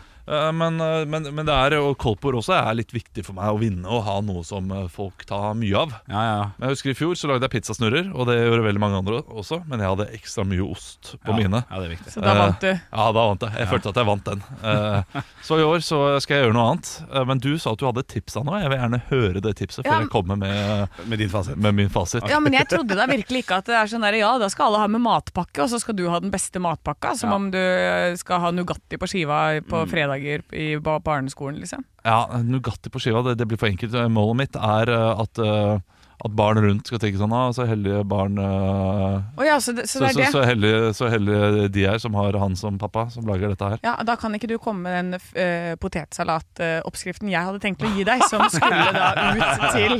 B: men, eh, men, men det er, og koldtbord også er litt viktig for meg å vinne og ha noe som eh, folk tar mye av.
C: Ja, ja, ja.
B: Men jeg husker I fjor så lagde jeg pizzasnurrer, og det gjorde veldig mange andre også. Men jeg hadde ekstra mye ost på
C: Ja,
B: mine.
C: Ja, det er viktig.
D: Så da vant du.
B: Ja, da vant jeg. Jeg følte at jeg vant den. Eh, så i år så skal jeg gjøre noe annet. Eh, men du sa at du hadde et tips av noe. Jeg vil gjerne høre det tipset før
D: Ja,
B: jeg kommer med,
C: Med din fasit.
B: med min fasit.
D: Ja, men jeg trodde da virkelig ikke at det er sånn der, ja, da skal alle ha med matpakke, og så skal du ha den beste matpakka, som om du eh, skal ha Nugatti på skiva på fredager i ba- barneskolen, liksom.
B: Ja, Nugatti på skiva, det, det blir for enkelt. Målet mitt er eh, at, eh, at barn rundt skal tenke sånn ah, Så heldige barn eh,
D: Å ja, så, det, så
B: så, så,
D: det er det.
B: så, heldige, så heldige de er som har han som pappa, som lager dette her.
D: Ja, Da kan ikke du komme med den uh, potetsalatoppskriften jeg hadde tenkt å gi deg, som skulle da ut til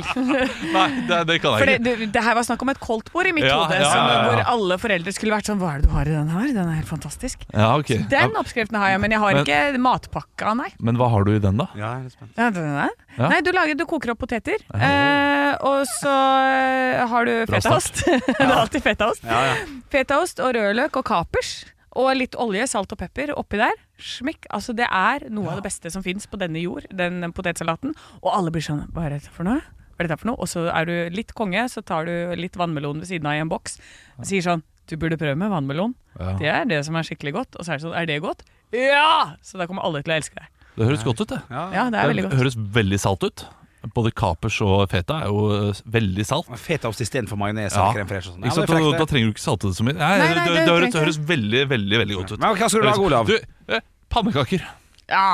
B: Nei, det, det kan
D: For
B: jeg
D: det,
B: ikke.
D: det, det her var snakk om et koldtbord i mitt
B: Ja,
D: hode,
B: ja,
D: som-
B: ja, ja.
D: hvor alle foreldre skulle vært sånn Hva er det du har i den her? Den er helt fantastisk.
B: Ja, ok ja,
D: Den oppskriften har jeg, men jeg har
B: Men-
D: ikke matpakka, nei.
B: Men hva har du i den, da?
C: Ja, jeg er litt spent.
D: Ja, den er.
B: Ja.
D: Nei, du, lager, du koker opp poteter, eh, og så eh, har du
B: Bra
D: fetaost. det er alltid fetaost.
C: Ja, ja.
D: Fetaost og rødløk og kapers. Og litt olje, salt og pepper oppi der. Smekk. Altså, det er noe av det beste som fins på denne jord, den potetsalaten. Og alle blir sånn Hva er dette for noe? Hva er dette for noe? Og så er du litt konge, så tar du litt vannmelon ved siden av i en boks. Og sier sånn Du burde prøve med vannmelon.
B: Ja.
D: Det er det som er skikkelig godt. Og så er det sånn Er det godt? Ja! Så da kommer alle til å elske deg.
B: Det høres godt ut, det.
D: Ja, det er veldig
B: det
D: godt.
B: høres veldig salt ut. Både kapers og feta er jo eh, veldig salt.
C: Fetaost istedenfor majones
B: Ja.
C: og krem fresh og sånn.
B: Ikke sant?
C: det er
B: Da,
C: frekt,
B: da
C: det.
B: trenger du ikke salte det så mye. Nei,
D: Nei,
B: det, det,
D: nei, du
B: høres,
D: trenger
B: det høres veldig, veldig veldig godt ut.
C: Men hva skal du lage, Olav?
B: Du, eh, pannekaker.
D: Ja!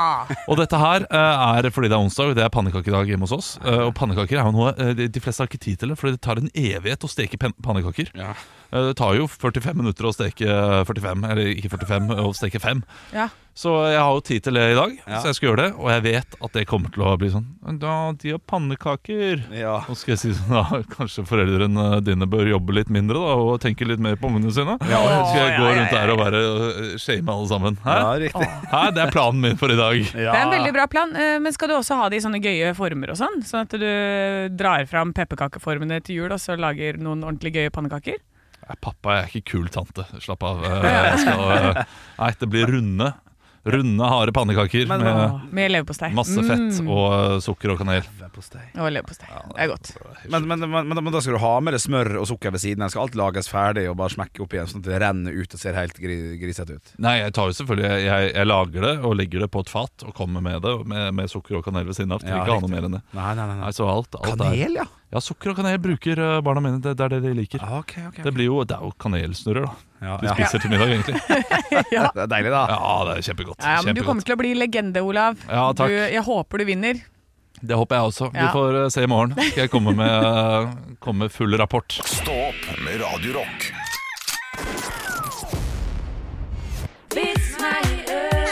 B: Og dette her eh, er fordi det er onsdag, og det er pannekakedag hjemme hos oss. Eh, og pannekaker er jo noe eh, de- de fleste har ikke tid til det, fordi det tar en evighet å steke pen- pannekaker.
C: Ja.
B: Eh, det tar jo 45 minutter å steke eh, 45, eller ikke 45, å steke 5.
D: ja.
B: Så jeg har jo tid til det i dag,
C: Ja.
B: så jeg skal gjøre det. Og jeg vet at det kommer til å bli sånn Da, de har pannekaker.
C: Ja.
B: Nå skal jeg si sånn, [laughs] ja, Kanskje foreldrene dine bør jobbe litt mindre da og tenke litt mer på ungene sine. skal jeg gå rundt der og bare eh, shame alle sammen? Hæ?
C: ja, riktig.
B: Hæ? Det er planen min for i dag.
D: Det er en veldig bra plan, eh, men skal du også ha det i sånne gøye former og sånn? Sånn at du drar fram pepperkakeformene til jul og så lager noen ordentlig gøye pannekaker?
B: Nei, Pappa jeg er ikke kul tante. Slapp
D: [laughs]
B: av. Eh, Jeg skal, eh, nei, det blir runde. Runde, harde pannekaker
C: Men-
B: med
D: Med leverpostei.
B: masse fett
D: Mm,
B: og eh, sukker og kanel.
D: og leverpostei. Det er godt.
C: Men, men, men, men, men da skal du ha med det smør og sukker ved siden. Den skal alt lages ferdig og bare smekke opp igjen, sånn at det renner ut og ser helt gri, grisete ut.
B: Nei, jeg tar jo selvfølgelig jeg, jeg, jeg lager det og legger det på et fat og kommer med det med, med sukker og kanel ved siden av. Trenger
C: Ja,
B: ikke ha noe
C: riktig.
B: mer enn det.
C: Nei, nei, nei,
B: Nei, så alt, alt er,
C: Kanel, ja.
B: ja, sukker og kanel bruker eh, barna mine. Det, det er det de liker.
C: Ah, ok, ok, ok.
B: Det, blir jo, det er jo kanelsnurrer, da.
C: ja,
B: De
C: ja.
B: spiser til middag,
D: [laughs]
B: egentlig.
D: Ja.
C: Det er deilig, da.
B: Ja, det er kjempegodt.
D: Ja, men du kommer
B: kjempegodt.
D: til å bli legende, Olav.
B: Ja, takk.
D: Du, jeg håper du vinner.
B: Det håper jeg også. Vi
D: Ja.
B: får eh, se i morgen. eh, Skal jeg komme med, komme med full rapport.
F: Stå opp med Radio Rock.
E: Vits meg i øret.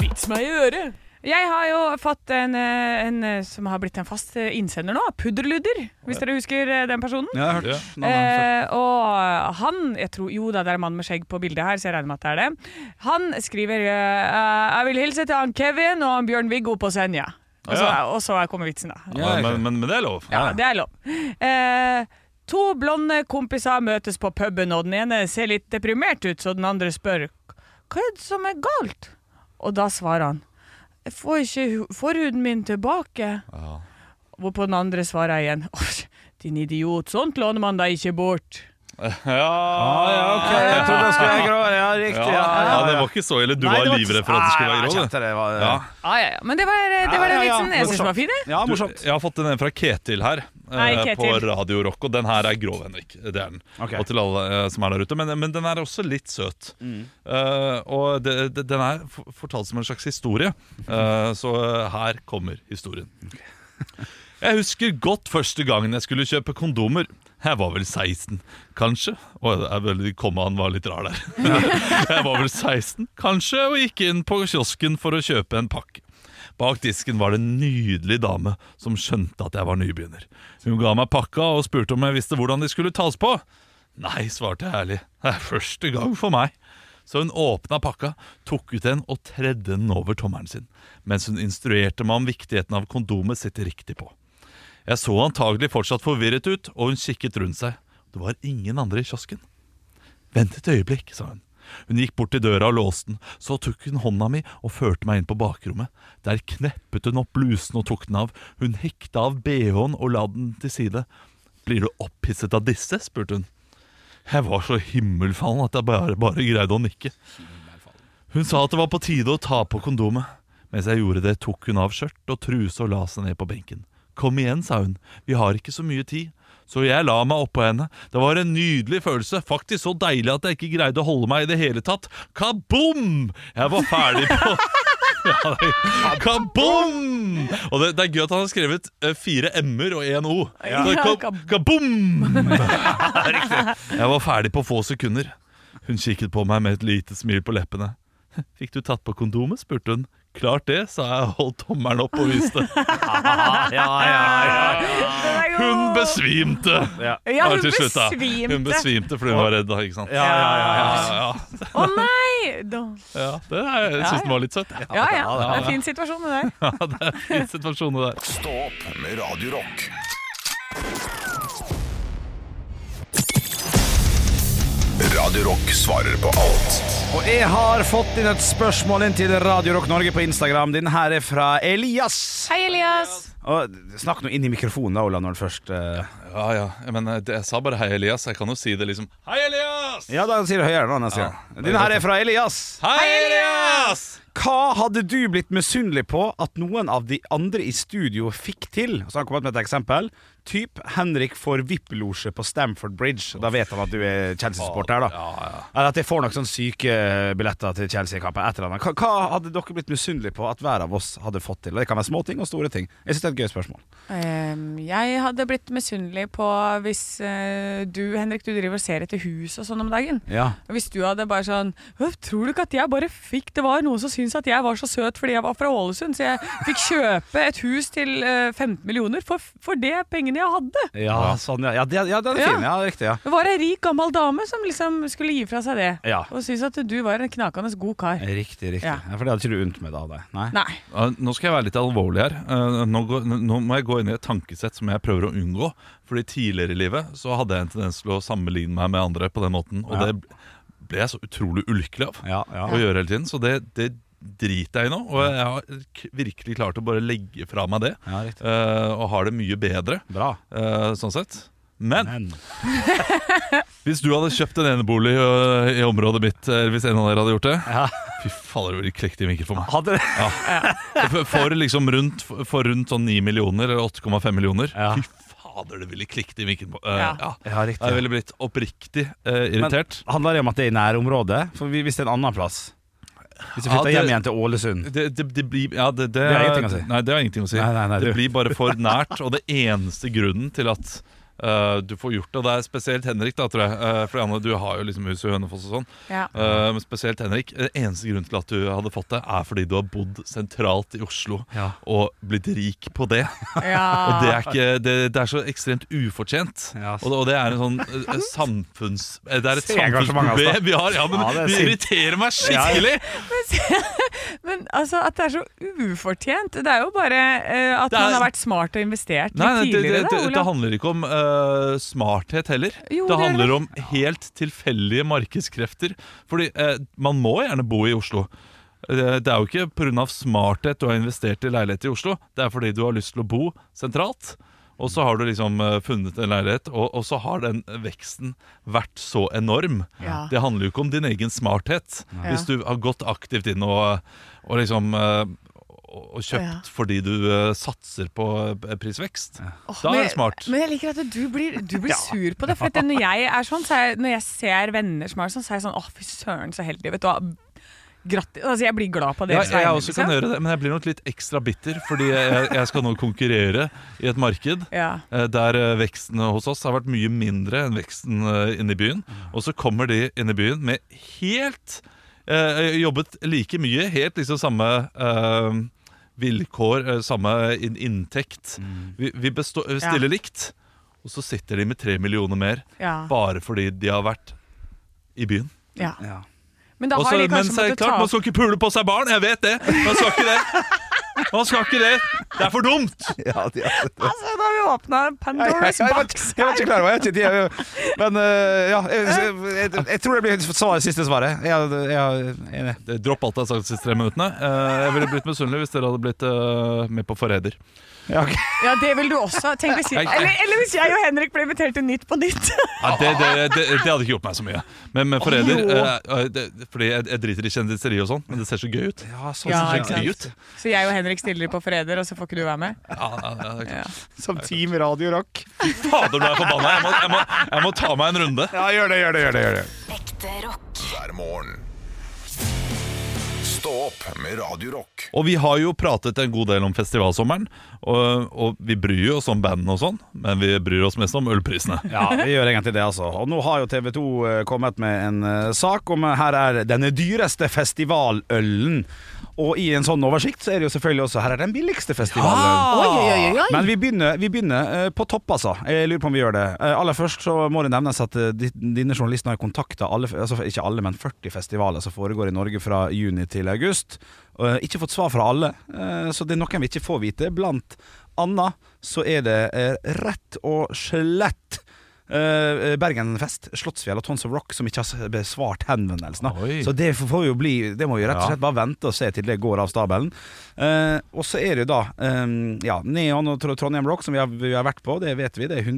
D: Vits meg i øret. Jeg har jo fått en, eh, en eh, som har blitt en fast eh, innsender nå, Pudderludder, hvis dere husker eh, den personen.
C: Ja, jeg har hørt. Nei, nei,
D: Eh, og han jeg tror, Jo da, det er en mann med skjegg på bildet her, så jeg regner med at det er det. Han skriver eh, Jeg vil hilse til han Kevin og han Bjørn-Viggo på Senja. Og så,
B: Ja.
D: og så kommer vitsen, da.
C: Ja,
B: men, men, men det er lov.
D: Ja, det er lov. Eh, to blonde kompiser møtes på puben, og den ene ser litt deprimert ut, så den andre spør Hva er det som er galt? Og da svarer han Jeg får ikke hu- forhuden min tilbake. Hvorpå den andre svarer igjen [laughs] «Åh, Din idiot, sånt låner man deg ikke bort.
B: Ja,
C: ja, ok, jeg trodde det skulle være grå. Ja,
B: ja,
C: riktig.
B: ja,
C: ja,
B: det
C: ja.
B: var ikke så ille. Du
C: Nei,
B: var
C: det
B: livredd for at det skulle være
C: Nei,
B: grå. du.
C: jeg kjente det var
B: Ja.
D: Ah, Ja, ja, ja. Men det var, det var den
C: Ja, ja, ja.
D: vitsen jeg syns var fin. jeg.
C: Ja,
B: Du,
C: morsomt.
B: jeg har fått en fra Ketil her, eh,
D: Hei,
B: på
D: Ketil.
B: Radio Rock. Og den her er grov, Henrik. Det er den.
C: Ok.
B: Og til alle eh, som er der ute. Men, men den er også litt søt.
C: Mm.
B: Eh, og det, det, den er f- fortalt som en slags historie. Eh, så eh, her kommer historien. [laughs] Jeg husker godt første gangen jeg skulle kjøpe kondomer. Jeg var vel 16, kanskje. Og jeg vel, kommaen var litt rar der. [laughs] jeg var vel 16, kanskje, og gikk inn på kiosken for å kjøpe en pakke. Bak disken var det en nydelig dame som skjønte at jeg var nybegynner. Hun ga meg pakka og spurte om jeg visste hvordan de skulle tas på. Nei, svarte jeg ærlig. Det er første gang for meg. Så hun åpna pakka, tok ut en og tredde den over tommelen sin, mens hun instruerte meg om viktigheten av kondomet sitt riktig på. Jeg så antagelig fortsatt forvirret ut, og hun kikket rundt seg. Det var ingen andre i kiosken. Vent et øyeblikk, sa hun. Hun gikk bort til døra og låste den. Så tok hun hånda mi og førte meg inn på bakrommet. Der kneppet hun opp blusen og tok den av. Hun hekta av bh-en og la den til side. Blir du opphisset av disse? spurte hun. Jeg var så himmelfallen at jeg bare, bare greide å nikke. Hun sa at det var på tide å ta på kondomet. Mens jeg gjorde det, tok hun av skjørt og truse og la seg ned på benken. Kom igjen, sa hun, vi har ikke så mye tid. Så jeg la meg oppå henne. Det var en nydelig følelse, faktisk så deilig at jeg ikke greide å holde meg i det hele tatt. Kaboom! Jeg var ferdig på [laughs] Ja, det er- Kaboom! Og det, det er gøy at han har skrevet eh, fire m-er og én o. Så
D: Ja,
B: ka-
D: kab-
B: Kaboom! [laughs] Jeg var ferdig på få sekunder. Hun kikket på meg med et lite smil på leppene. Fikk du tatt på kondomet? spurte hun. Klart det, sa jeg og holdt tommelen opp og viste.
D: Ah, Den er god. [laughs]
B: Hun besvimte!
D: Ja, hun
B: til slutt, da.
D: besvimte.
B: Hun besvimte fordi hun var redd, da. ikke sant?
C: Ja, ja, ja.
B: ja,
C: ja.
B: ja,
D: Å nei! Da-
B: ja. Det er, jeg syns den var litt søt.
D: Ja ja, det er en fin situasjon det der.
B: Ja, [laughs] det er en fin situasjon, det der.
F: Stå opp med Radio Rock. Radio Rock svarer på alt
C: Og jeg har fått inn et spørsmål inn til Radio Rock Norge på Instagram. Den her er fra Elias.
D: Hei, Elias.
C: Og, snakk nå inn i mikrofonen, da, Ola, når du først eh,
B: Ja, ja. Men eh, det- jeg sa bare 'hei, Elias'. Jeg kan jo si det liksom 'hei, Elias'!
C: Ja, da sier du høyere nå neste gang. Den her er fra Elias.
B: Hei, Elias!
C: Hva hadde du blitt misunnelig på at noen av de andre i studio fikk til? Så har han kommet med et eksempel. Typ Henrik får VIP-losje på Stamford Bridge. Da vet han at du er Chelsea-supporter. da Eller at jeg får noen sånne syke billetter til Chelsea-kampen. Et eller annet. Hva, hva hadde dere blitt misunnelige på at hver av oss hadde fått til? Og Det kan være små ting og store ting. Jeg synes det er et gøy spørsmål.
D: Ehm, jeg hadde blitt misunnelig på hvis eh, du, Henrik, du driver og ser etter hus og sånn om dagen.
C: Ja,
D: Hvis du hadde bare sånn «Hå, Tror du ikke at jeg bare fikk Det var noen som syntes at jeg var så søt fordi jeg var fra Ålesund, så jeg fikk kjøpe et hus til eh, 15 millioner for, for det pengene jeg hadde.
C: ja sånn, ja. Ja, det, ja, den er
D: Ja.
C: fin. Ja, riktig. Ja.
D: Det var ei rik, gammel dame som liksom skulle gi fra seg det.
C: Ja.
D: Og syntes at du var en knakende god kar.
C: Riktig, riktig.
D: Ja.
C: Ja. For det hadde ikke du unnt med da, deg? Nei.
D: Nei.
B: [laughs] Ja, Nå skal jeg være litt alvorlig her. Eh, Nå, går, nå må jeg gå inn i et tankesett som jeg prøver å unngå. Fordi tidligere i livet så hadde jeg en tendens til å sammenligne meg med andre på den måten. Og
C: Ja.
B: det ble jeg så utrolig ulykelig av
C: Ja, ja.
B: å gjøre hele tiden. Så det, det driter jeg i nå. Og jeg har k- virkelig klart å bare legge fra meg det.
C: Ja, riktig.
B: eh, Og har det mye bedre,
C: Bra.
B: eh, sånn sett. Men
C: Men
B: hvis du hadde kjøpt en enebolig ø, i området mitt, eller hvis en av dere hadde gjort det Fy fader, det klekte i vinkel for meg.
C: hadde
B: Ja. For, for liksom rundt, for rundt sånn 9 millioner, eller 8,5 millioner.
C: Ja.
B: Fy fader, det ville klikket i vinken på. eh,
D: Ja.
B: ja.
C: Ja, riktig.
B: Jeg ville blitt oppriktig eh, irritert.
C: Handler det om at det er i nærområdet? For vi- hvis det er en annen plass Hvis vi
B: Ja,
C: flytter
B: det-
C: hjem igjen til Ålesund
B: Det, det, det blir ja, det, det,
C: har ingenting å si.
B: Nei, det har ingenting å si.
C: Nei, nei, nei,
B: det
C: du-
B: blir bare for nært, og det eneste grunnen til at eh, du får gjort det. Og det er spesielt Henrik, da, tror jeg. eh, for Janne, du har jo liksom hus i Hønefoss og sånn.
D: Ja.
B: Eh, men spesielt Henrik. eh, Eneste grunn til at du hadde fått det, er fordi du har bodd sentralt i Oslo
C: Ja.
B: og blitt rik på det. Og det
D: Ja.
B: er, ikke, det, det er så ekstremt ufortjent.
C: Ja, ass.
B: og, det, og det er en sånn eh, eh, samfunns... eh, Det er et
C: Se engasjementet, ass, da.
B: samfunnsproblem vi har. Ja, men
C: altså. Ja, det er
B: det
C: sint.
B: irriterer meg skikkelig!
D: Men altså, at det er så ufortjent. Det er jo bare eh, at
B: Det er-
D: man har vært smart og investert litt
B: Nei, nei, det, det,
D: tidligere,
B: det,
D: da,
B: det
D: Olav.
B: handler ikke om eh, smarthet heller.
D: Jo,
B: det
D: det
B: handler
D: gjør
B: om helt tilfeldige markedskrefter. Fordi eh, man må gjerne bo i Oslo. Eh, Det er jo ikke pga. smarthet du har investert i leilighet i Oslo. Det er fordi du har lyst til å bo sentralt. Og så har du liksom eh, funnet en leilighet, og, og så har den veksten vært så enorm.
D: Ja.
B: Det handler jo ikke om din egen smarthet.
D: Ja.
B: Hvis du har gått aktivt inn og, og liksom eh, og og kjøpt
D: Ja.
B: fordi du eh, satser på eh, prisvekst.
D: Åh,
B: Da er
D: men-
B: det smart.
D: Men jeg liker at du blir, du blir sur på det. For at det- når jeg er sånn, så er, når jeg ser venner som er sånn, så er jeg sånn Å, fy søren, så heldig. Vet du hva. Grattis. Altså, jeg blir glad på
B: Ja,
D: deres
B: jeg
D: vegne,
B: også kan
D: liksom.
B: gjøre det, men jeg blir nok litt ekstra bitter, fordi jeg, jeg skal nå konkurrere i et marked
D: Ja.
B: eh, der eh, veksten hos oss har vært mye mindre enn veksten eh, inne i byen. Og så kommer de inn i byen med helt eh, Jobbet like mye, helt liksom samme eh, vilkår, eh, samme in inntekt. Vi, vi bestå- eh, stiller likt, og så sitter de med tre millioner mer
D: Ja.
B: bare fordi de har vært i byen.
D: ja.
C: Ja.
D: Men da
B: Og
D: har
B: så-
D: de
B: men
D: kanskje
B: så er det
D: måttet ta
B: klart, man
D: opp
B: skal ikke pule på seg barn, jeg vet det. Man skal ikke det. Man skal ikke det. Det er for dumt.
C: Ja, de er
D: [laughs] Altså, da har vi åpna Pandoras
C: [laughs] jeg, var,
D: box.
C: jeg var ikke klar over det. Jeg, jeg, men øh, ja, jeg, jeg, jeg, jeg tror det blir svar, siste svaret. Jeg, jeg, jeg, enig.
B: Det- Eh, Dropp alt jeg har sagt de siste tre minuttene. Eh, Jeg ville blitt misunnelig hvis dere hadde blitt eh, med på Forræder.
C: Ja, ok.
D: Ja, det vil du også. Tenk hvis,
B: Jeg-
D: eller, eller hvis jeg og Henrik ble invitert til Nytt på nytt. [laughs]
B: Ja, det, det, det, det hadde ikke gjort meg så mye. Men med Forræder eh, eh, det- Fordi jeg, jeg driter i kjendiseri og sånn, men det ser så gøy ut.
C: Ja, sånn
D: Ja,
C: som-
B: Det ser gøy ut.
D: Så jeg og Henrik stiller på Forræder, og så får ikke du være med?
B: Ja, ja, ja, det er klart.
C: Som Team Radio Rock.
B: Fader, nå er jeg forbanna. Jeg må, jeg, må, jeg må ta meg en runde.
C: Ja, gjør det, gjør det, gjør det. Gjør det.
E: Ekte rock.
F: hver morgen. Stå opp med Radio Rock.
B: Og vi har jo pratet en god del om festivalsommeren, og, og vi bryr oss om bandene og sånn, men vi bryr oss mest om ølprisene.
C: Ja, vi gjør egentlig det, altså. Og nå har jo TV 2 kommet med en eh, sak om eh, her er den dyreste festivalølen. Og i en sånn oversikt så er det jo selvfølgelig også her er den billigste festivalølen.
I: Oi, oi, oi, oi.
C: Men vi begynner, vi begynner eh, på topp, altså. Jeg lurer på om vi gjør det. Eh, Aller først så må det nevnes at eh, di- dine journalistene har kontakta alle, altså ikke alle, men 40 festivaler som foregår i Norge fra juni til august. Eh, Ikke fått svar fra alle, eh, så det er noen vi ikke får vite. Blant annet så er det eh, rett og slett eh, Bergenfest, Slottsfjell og Tons of Rock som ikke har besvart henvendelsene.
B: Oi.
C: Så det får vi jo bli Det må vi jo rett og
B: Ja.
C: slett bare vente og se til det går av stabelen. Eh, og så er det jo da eh, ja, Neon og Tr- Trondheim Rock, som vi har, vi har vært på, det vet vi. Det er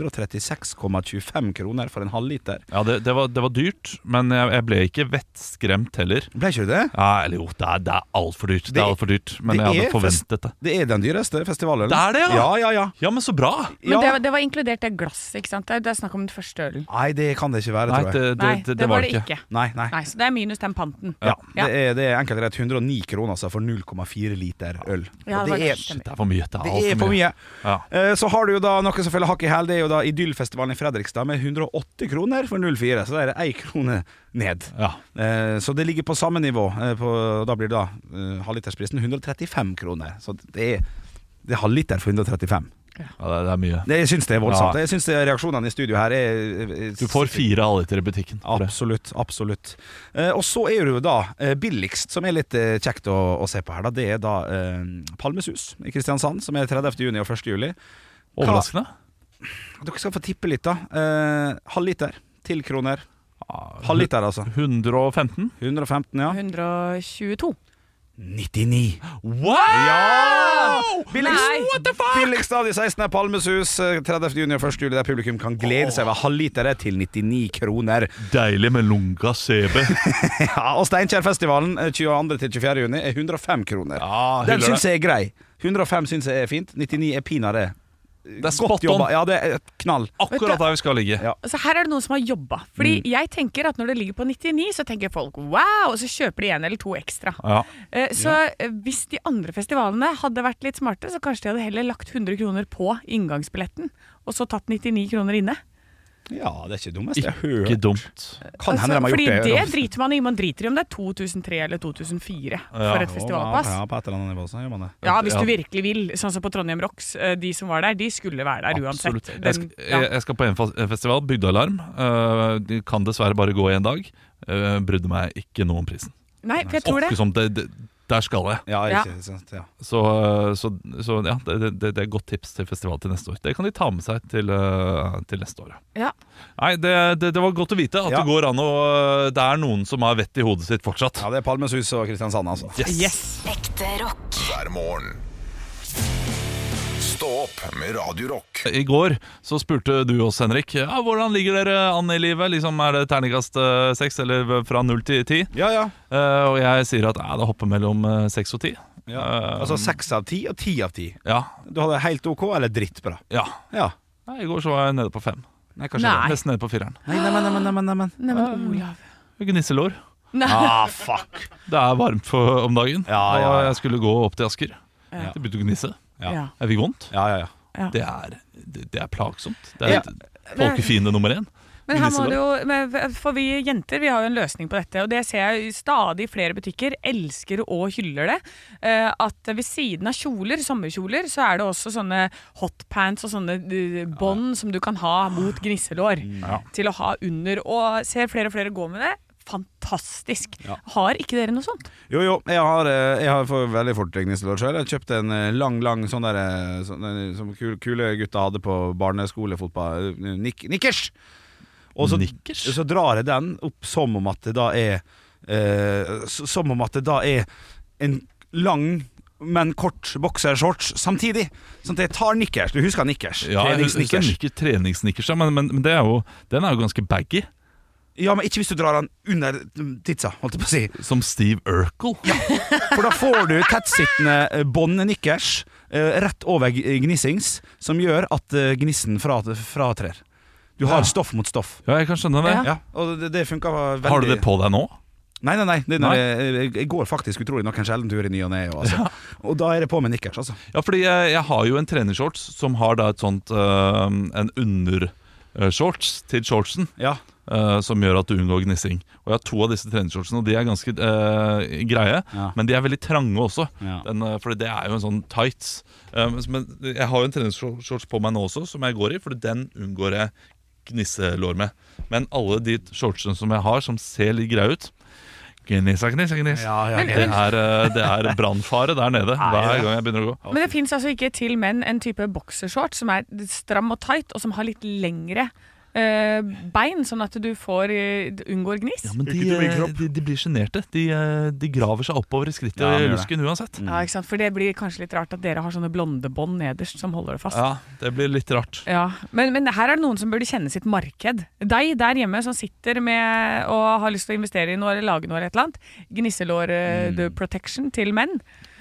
C: 136,25 kroner for en halvliter.
B: Ja, det, det, var, det var dyrt, men jeg, jeg ble ikke vettskremt heller.
C: Ble ikke du det?
B: Ja, eller jo, det er, det er altfor dyrt. Det,
C: Det-
B: er altfor dyrt, men
C: det
B: jeg hadde
C: er fest-
B: forventet det.
C: Det er den dyreste festivalen.
B: Det er det,
C: ja!
B: ja.
C: Ja, ja,
B: Ja, men så bra!
D: Men
C: Ja.
D: det, var- det var inkludert det glasset, ikke sant? Det er, det er snakk om den første ølen.
C: Nei, det kan det ikke være,
B: Nei,
C: tror jeg.
B: det, det,
D: Nei,
B: det, det var det ikke.
C: Nei, nei.
D: Nei, Så det er minus den panten.
C: Ja,
D: Ja.
C: Det, er, det er enkelt rett 109 kroner altså, for 0,4 liter øl.
D: Ja,
C: Og
D: det var-
C: det, er,
D: stemmer.
B: Det er for mye. Det er,
C: det
B: alt
C: er for mye.
B: Ja.
C: Eh, Så har du jo da noe som følger hakk i hæl. Det er jo da Idyllfestivalen i Fredrikstad med 108 kroner for 04, så da er det én krone ned.
B: Ja.
C: Eh, Så det ligger på samme nivå. eh, På, da blir det da eh, halvlitersprisen 135 kroner. Så det er, det er halvliter for 135.
B: Ja, det, det er mye.
C: Det, jeg syns det er voldsomt.
B: Ja.
C: Jeg syns det- reaksjonene i studio her er eh, er-
B: Du får fire halvliter i butikken. for det.
C: Absolutt. absolutt eh, Og så er det jo da eh, billigst, som er litt eh, kjekt å, å se på her, da. Det er da eh, Palmesus i Kristiansand, som er 30. juni og 1. juli.
B: Overraskende.
C: Dere skal få tippe litt, da. Eh, halvliter. Til kroner. Halvliter, altså.
B: 115?
C: 115, ja.
D: 122.
C: 99.
B: Wow!
D: Nei.
C: Billigst, billigst av de 16 er Palmesus. eh, 30. juni og 1. juli, der publikum kan glede seg over halvlitere til 99 kroner.
B: Deilig med lunga
C: [laughs]
B: CB.
C: Ja, og Steinkjerfestivalen eh, 22. til 24. juni er 105 kroner.
B: Ja,
C: Den
B: hyller
C: syns jeg er grei. 105 syns jeg er fint. 99 er pinadø.
B: Det er spot on.
C: Ja, det er knall.
B: Akkurat der vi skal ligge.
C: Ja.
D: Altså, her er det noen som har jobba. Fordi
C: Mm.
D: jeg tenker at når det ligger på 99, så tenker folk wow, og så kjøper de en eller to ekstra.
B: Ja.
D: Eh, Så eh, hvis de andre festivalene hadde vært litt smarte, så kanskje de hadde heller lagt 100 kroner på inngangsbilletten. og så tatt 99 kroner inne.
C: Ja, det er ikke dummest. Jeg
B: Ikke
C: hører.
B: dumt.
C: Kan hende de har
D: Altså, fordi
C: gjort det.
D: det driter man i. Man driter i om det er 2003 eller 2004 for et festivalpass.
C: Ja, på et eller annet nivå så gjør man det.
D: Ja, hvis
B: Ja.
D: du virkelig vil. Sånn som på Trondheim Rocks. eh, De som var der, de skulle være der uansett.
B: Absolutt. Jeg skal,
D: Den- ja.
C: eh,
B: jeg jeg skal på en fas- en festival, Bygdealarm. Eh, de kan dessverre bare gå én dag. Uh, brydde meg ikke noe om prisen.
D: Nei, for jeg tror
B: Åkke
D: det.
B: som det, det, der skal jeg.
C: Ja,
D: Ja.
C: ikke sant. Ja.
B: Så, eh, så, så ja, det, det- det, det er et godt tips til festival til neste år. Det kan de ta med seg til, eh, til neste år. ja.
D: Ja.
B: Nei, det, det, det var godt å vite at
C: Ja.
B: det går an å Det er noen som har vett i hodet sitt fortsatt.
C: ja, det er Palmesus og Kristiansand, altså.
D: Yes.
E: Ekte rock.
F: hver morgen. Stå opp med Radio Rock.
B: I går så spurte du oss, Henrik, ja, hvordan ligger dere an i livet? Liksom, er det terningkast eh, seks, eller fra null til ti?
C: Ja, ja.
B: Eh, og jeg sier at eh, det hopper mellom eh, seks og ti.
C: ja.
B: Eh,
C: altså seks av ti og ti av ti.
B: Ja.
C: Du hadde helt OK eller drittbra?
B: ja.
C: Ja.
B: Nei, I går så var jeg nede på fem.
C: Nei, kanskje
D: Nei.
B: Nesten nede på fireren.
C: Nei, nei, nei, nei, nei, nei, nei.
D: Neimen, Olav.
B: Gnisselår.
D: Nei.
B: Ah, fuck. Det er varmt for, om dagen,
C: Ja, ja, ja.
B: og jeg skulle gå opp til Asker. Det begynte å gnisse.
C: Ja.
D: Ja.
B: Jeg fikk vondt.
C: Ja, ja, ja.
B: Det er, det, det er plagsomt. Det er
C: Ja.
B: folkefiende nummer én.
D: Men her må
B: Gnisselår.
D: det jo, men for vi jenter vi har jo en løsning på dette, og det ser jeg i stadig flere butikker elsker og hyller det. eh, At ved siden av kjoler, sommerkjoler, så er det også sånne hotpants og sånne eh, bånd som du kan ha mot gnisselår. Til å ha under. Og ser flere og flere gå med det. Fantastisk. Har ikke dere noe sånt?
C: Jo, jo, jeg har, eh, jeg har for veldig fort gnisselår sjøl. Jeg kjøpte en eh, lang, lang sånn der eh, sånn, eh, som kul- kule gutta hadde på barneskolefotball. eh, Nik nikkers! Og så,
B: Nikkers?
C: så drar jeg den opp som om at det da er eh, s- Som om at det da er en lang men kort boksershorts samtidig. Sånn at jeg tar nikkers. Du husker nikkers?
B: Ja, jeg husker
C: Treningsnikkers.
B: ikke treningsnikkers, ja, men, men, men det er jo, den er jo ganske baggy.
C: Ja, men ikke hvis du drar den under mm, titsa, holdt jeg på å si.
B: Som Steve Urkel.
C: For da får du tettsittende eh, bånd nikkers eh, rett over g- gnissings, som gjør at eh, gnissen fra- fratrer. Du har
B: Ja.
C: stoff mot stoff.
B: Ja, jeg kan skjønne det.
C: Ja. og det, det funka veldig
B: Har du det på deg nå?
C: Nei, nei, nei. Det er når Jeg, jeg- jeg går faktisk utrolig nok en sjelden tur i ny og ne. og Altså. Og da er det på med nikkers, altså.
B: Ja, fordi jeg, jeg har jo en treningsshorts som har da et sånt øh, En undershorts til shortsen.
C: Ja.
B: øh, som gjør at du unngår gnissing. Og Jeg har to av disse treningsshortsene, og de er ganske øh, greie.
C: Ja.
B: Men de er veldig trange også,
C: Ja.
B: Den, øh, Fordi det er jo en sånn tights. Um, men jeg har jo en treningsshorts på meg nå også, som jeg går i, Fordi den unngår jeg gnisselår med. Men alle de shortsene som jeg har, som ser litt greie ut Gnissa, gnissa, gniss.
C: Ja, ja,
B: det er, øh, det er brannfare der nede hver gang jeg begynner å gå.
D: Men det fins altså ikke til menn en type boksershorts som er stram og tight, og som har litt lengre eh, bein, sånn at du får, eh, unngår gniss.
B: Ja, men de, eh, de, de blir sjenerte. De, eh, de graver seg oppover i skrittet
C: Ja, de
B: og i
C: gjør det.
B: lusken uansett.
D: Ja, ikke sant? For det blir kanskje litt rart at dere har sånne blonde bånd nederst som holder det fast. Ja.
B: Ja, det blir litt rart.
D: Men, men her er det noen som burde kjenne sitt marked. Deg der hjemme som sitter med og har lyst til å investere i noe eller lage noe eller et eller annet. Gnisselår eh,
B: Mm.
D: the protection til menn.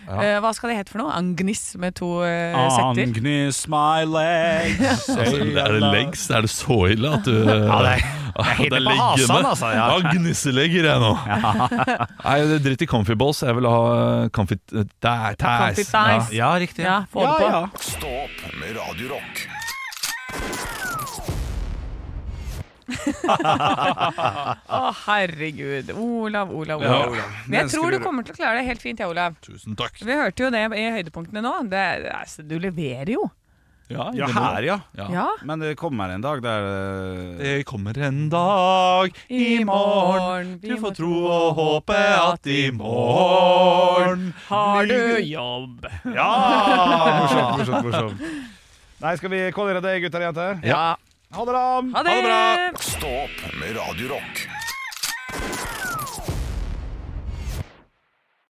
D: Eh, hva skal det hete for noe? Angniss med to eh,
B: Ah,
D: setter.
C: Agnes my
B: [laughs]
C: legs
B: Altså, er det legs? Er det så ille at du Ja,
C: det
B: det
C: er- på hasan, altså,
B: Ja,
C: ja.
B: gnisselegger jeg nå. Nei, det er dritt i comfy balls. Jeg vil ha eh, comfy tæs.
D: Comfy thighs.
C: Ja, riktig.
D: Ja, få det på.
F: Stå opp med Radio Rock.
D: Å, herregud. Olav, Olav,
B: Ja,
D: Olav. Men jeg tror du kommer til å klare det helt fint, ja, Olav.
B: Tusen takk.
D: Vi hørte jo det i høydepunktene nå. Det, altså, du leverer jo.
B: Ja,
C: Ja,
B: det må-
C: her, ja.
B: Ja.
D: Ja.
C: Men det kommer en dag der eh,
B: Det kommer en dag i morgen Du får tro og håpe at i morgen
D: Har du jobb?
C: Ja! morsomt, morsomt, morsomt. Nei, skal vi kålere det, gutter og jenter?
B: Ja.
C: Ha det, da!
D: Ha det!
B: Ha det bra!
F: Stå opp med Radio Rock.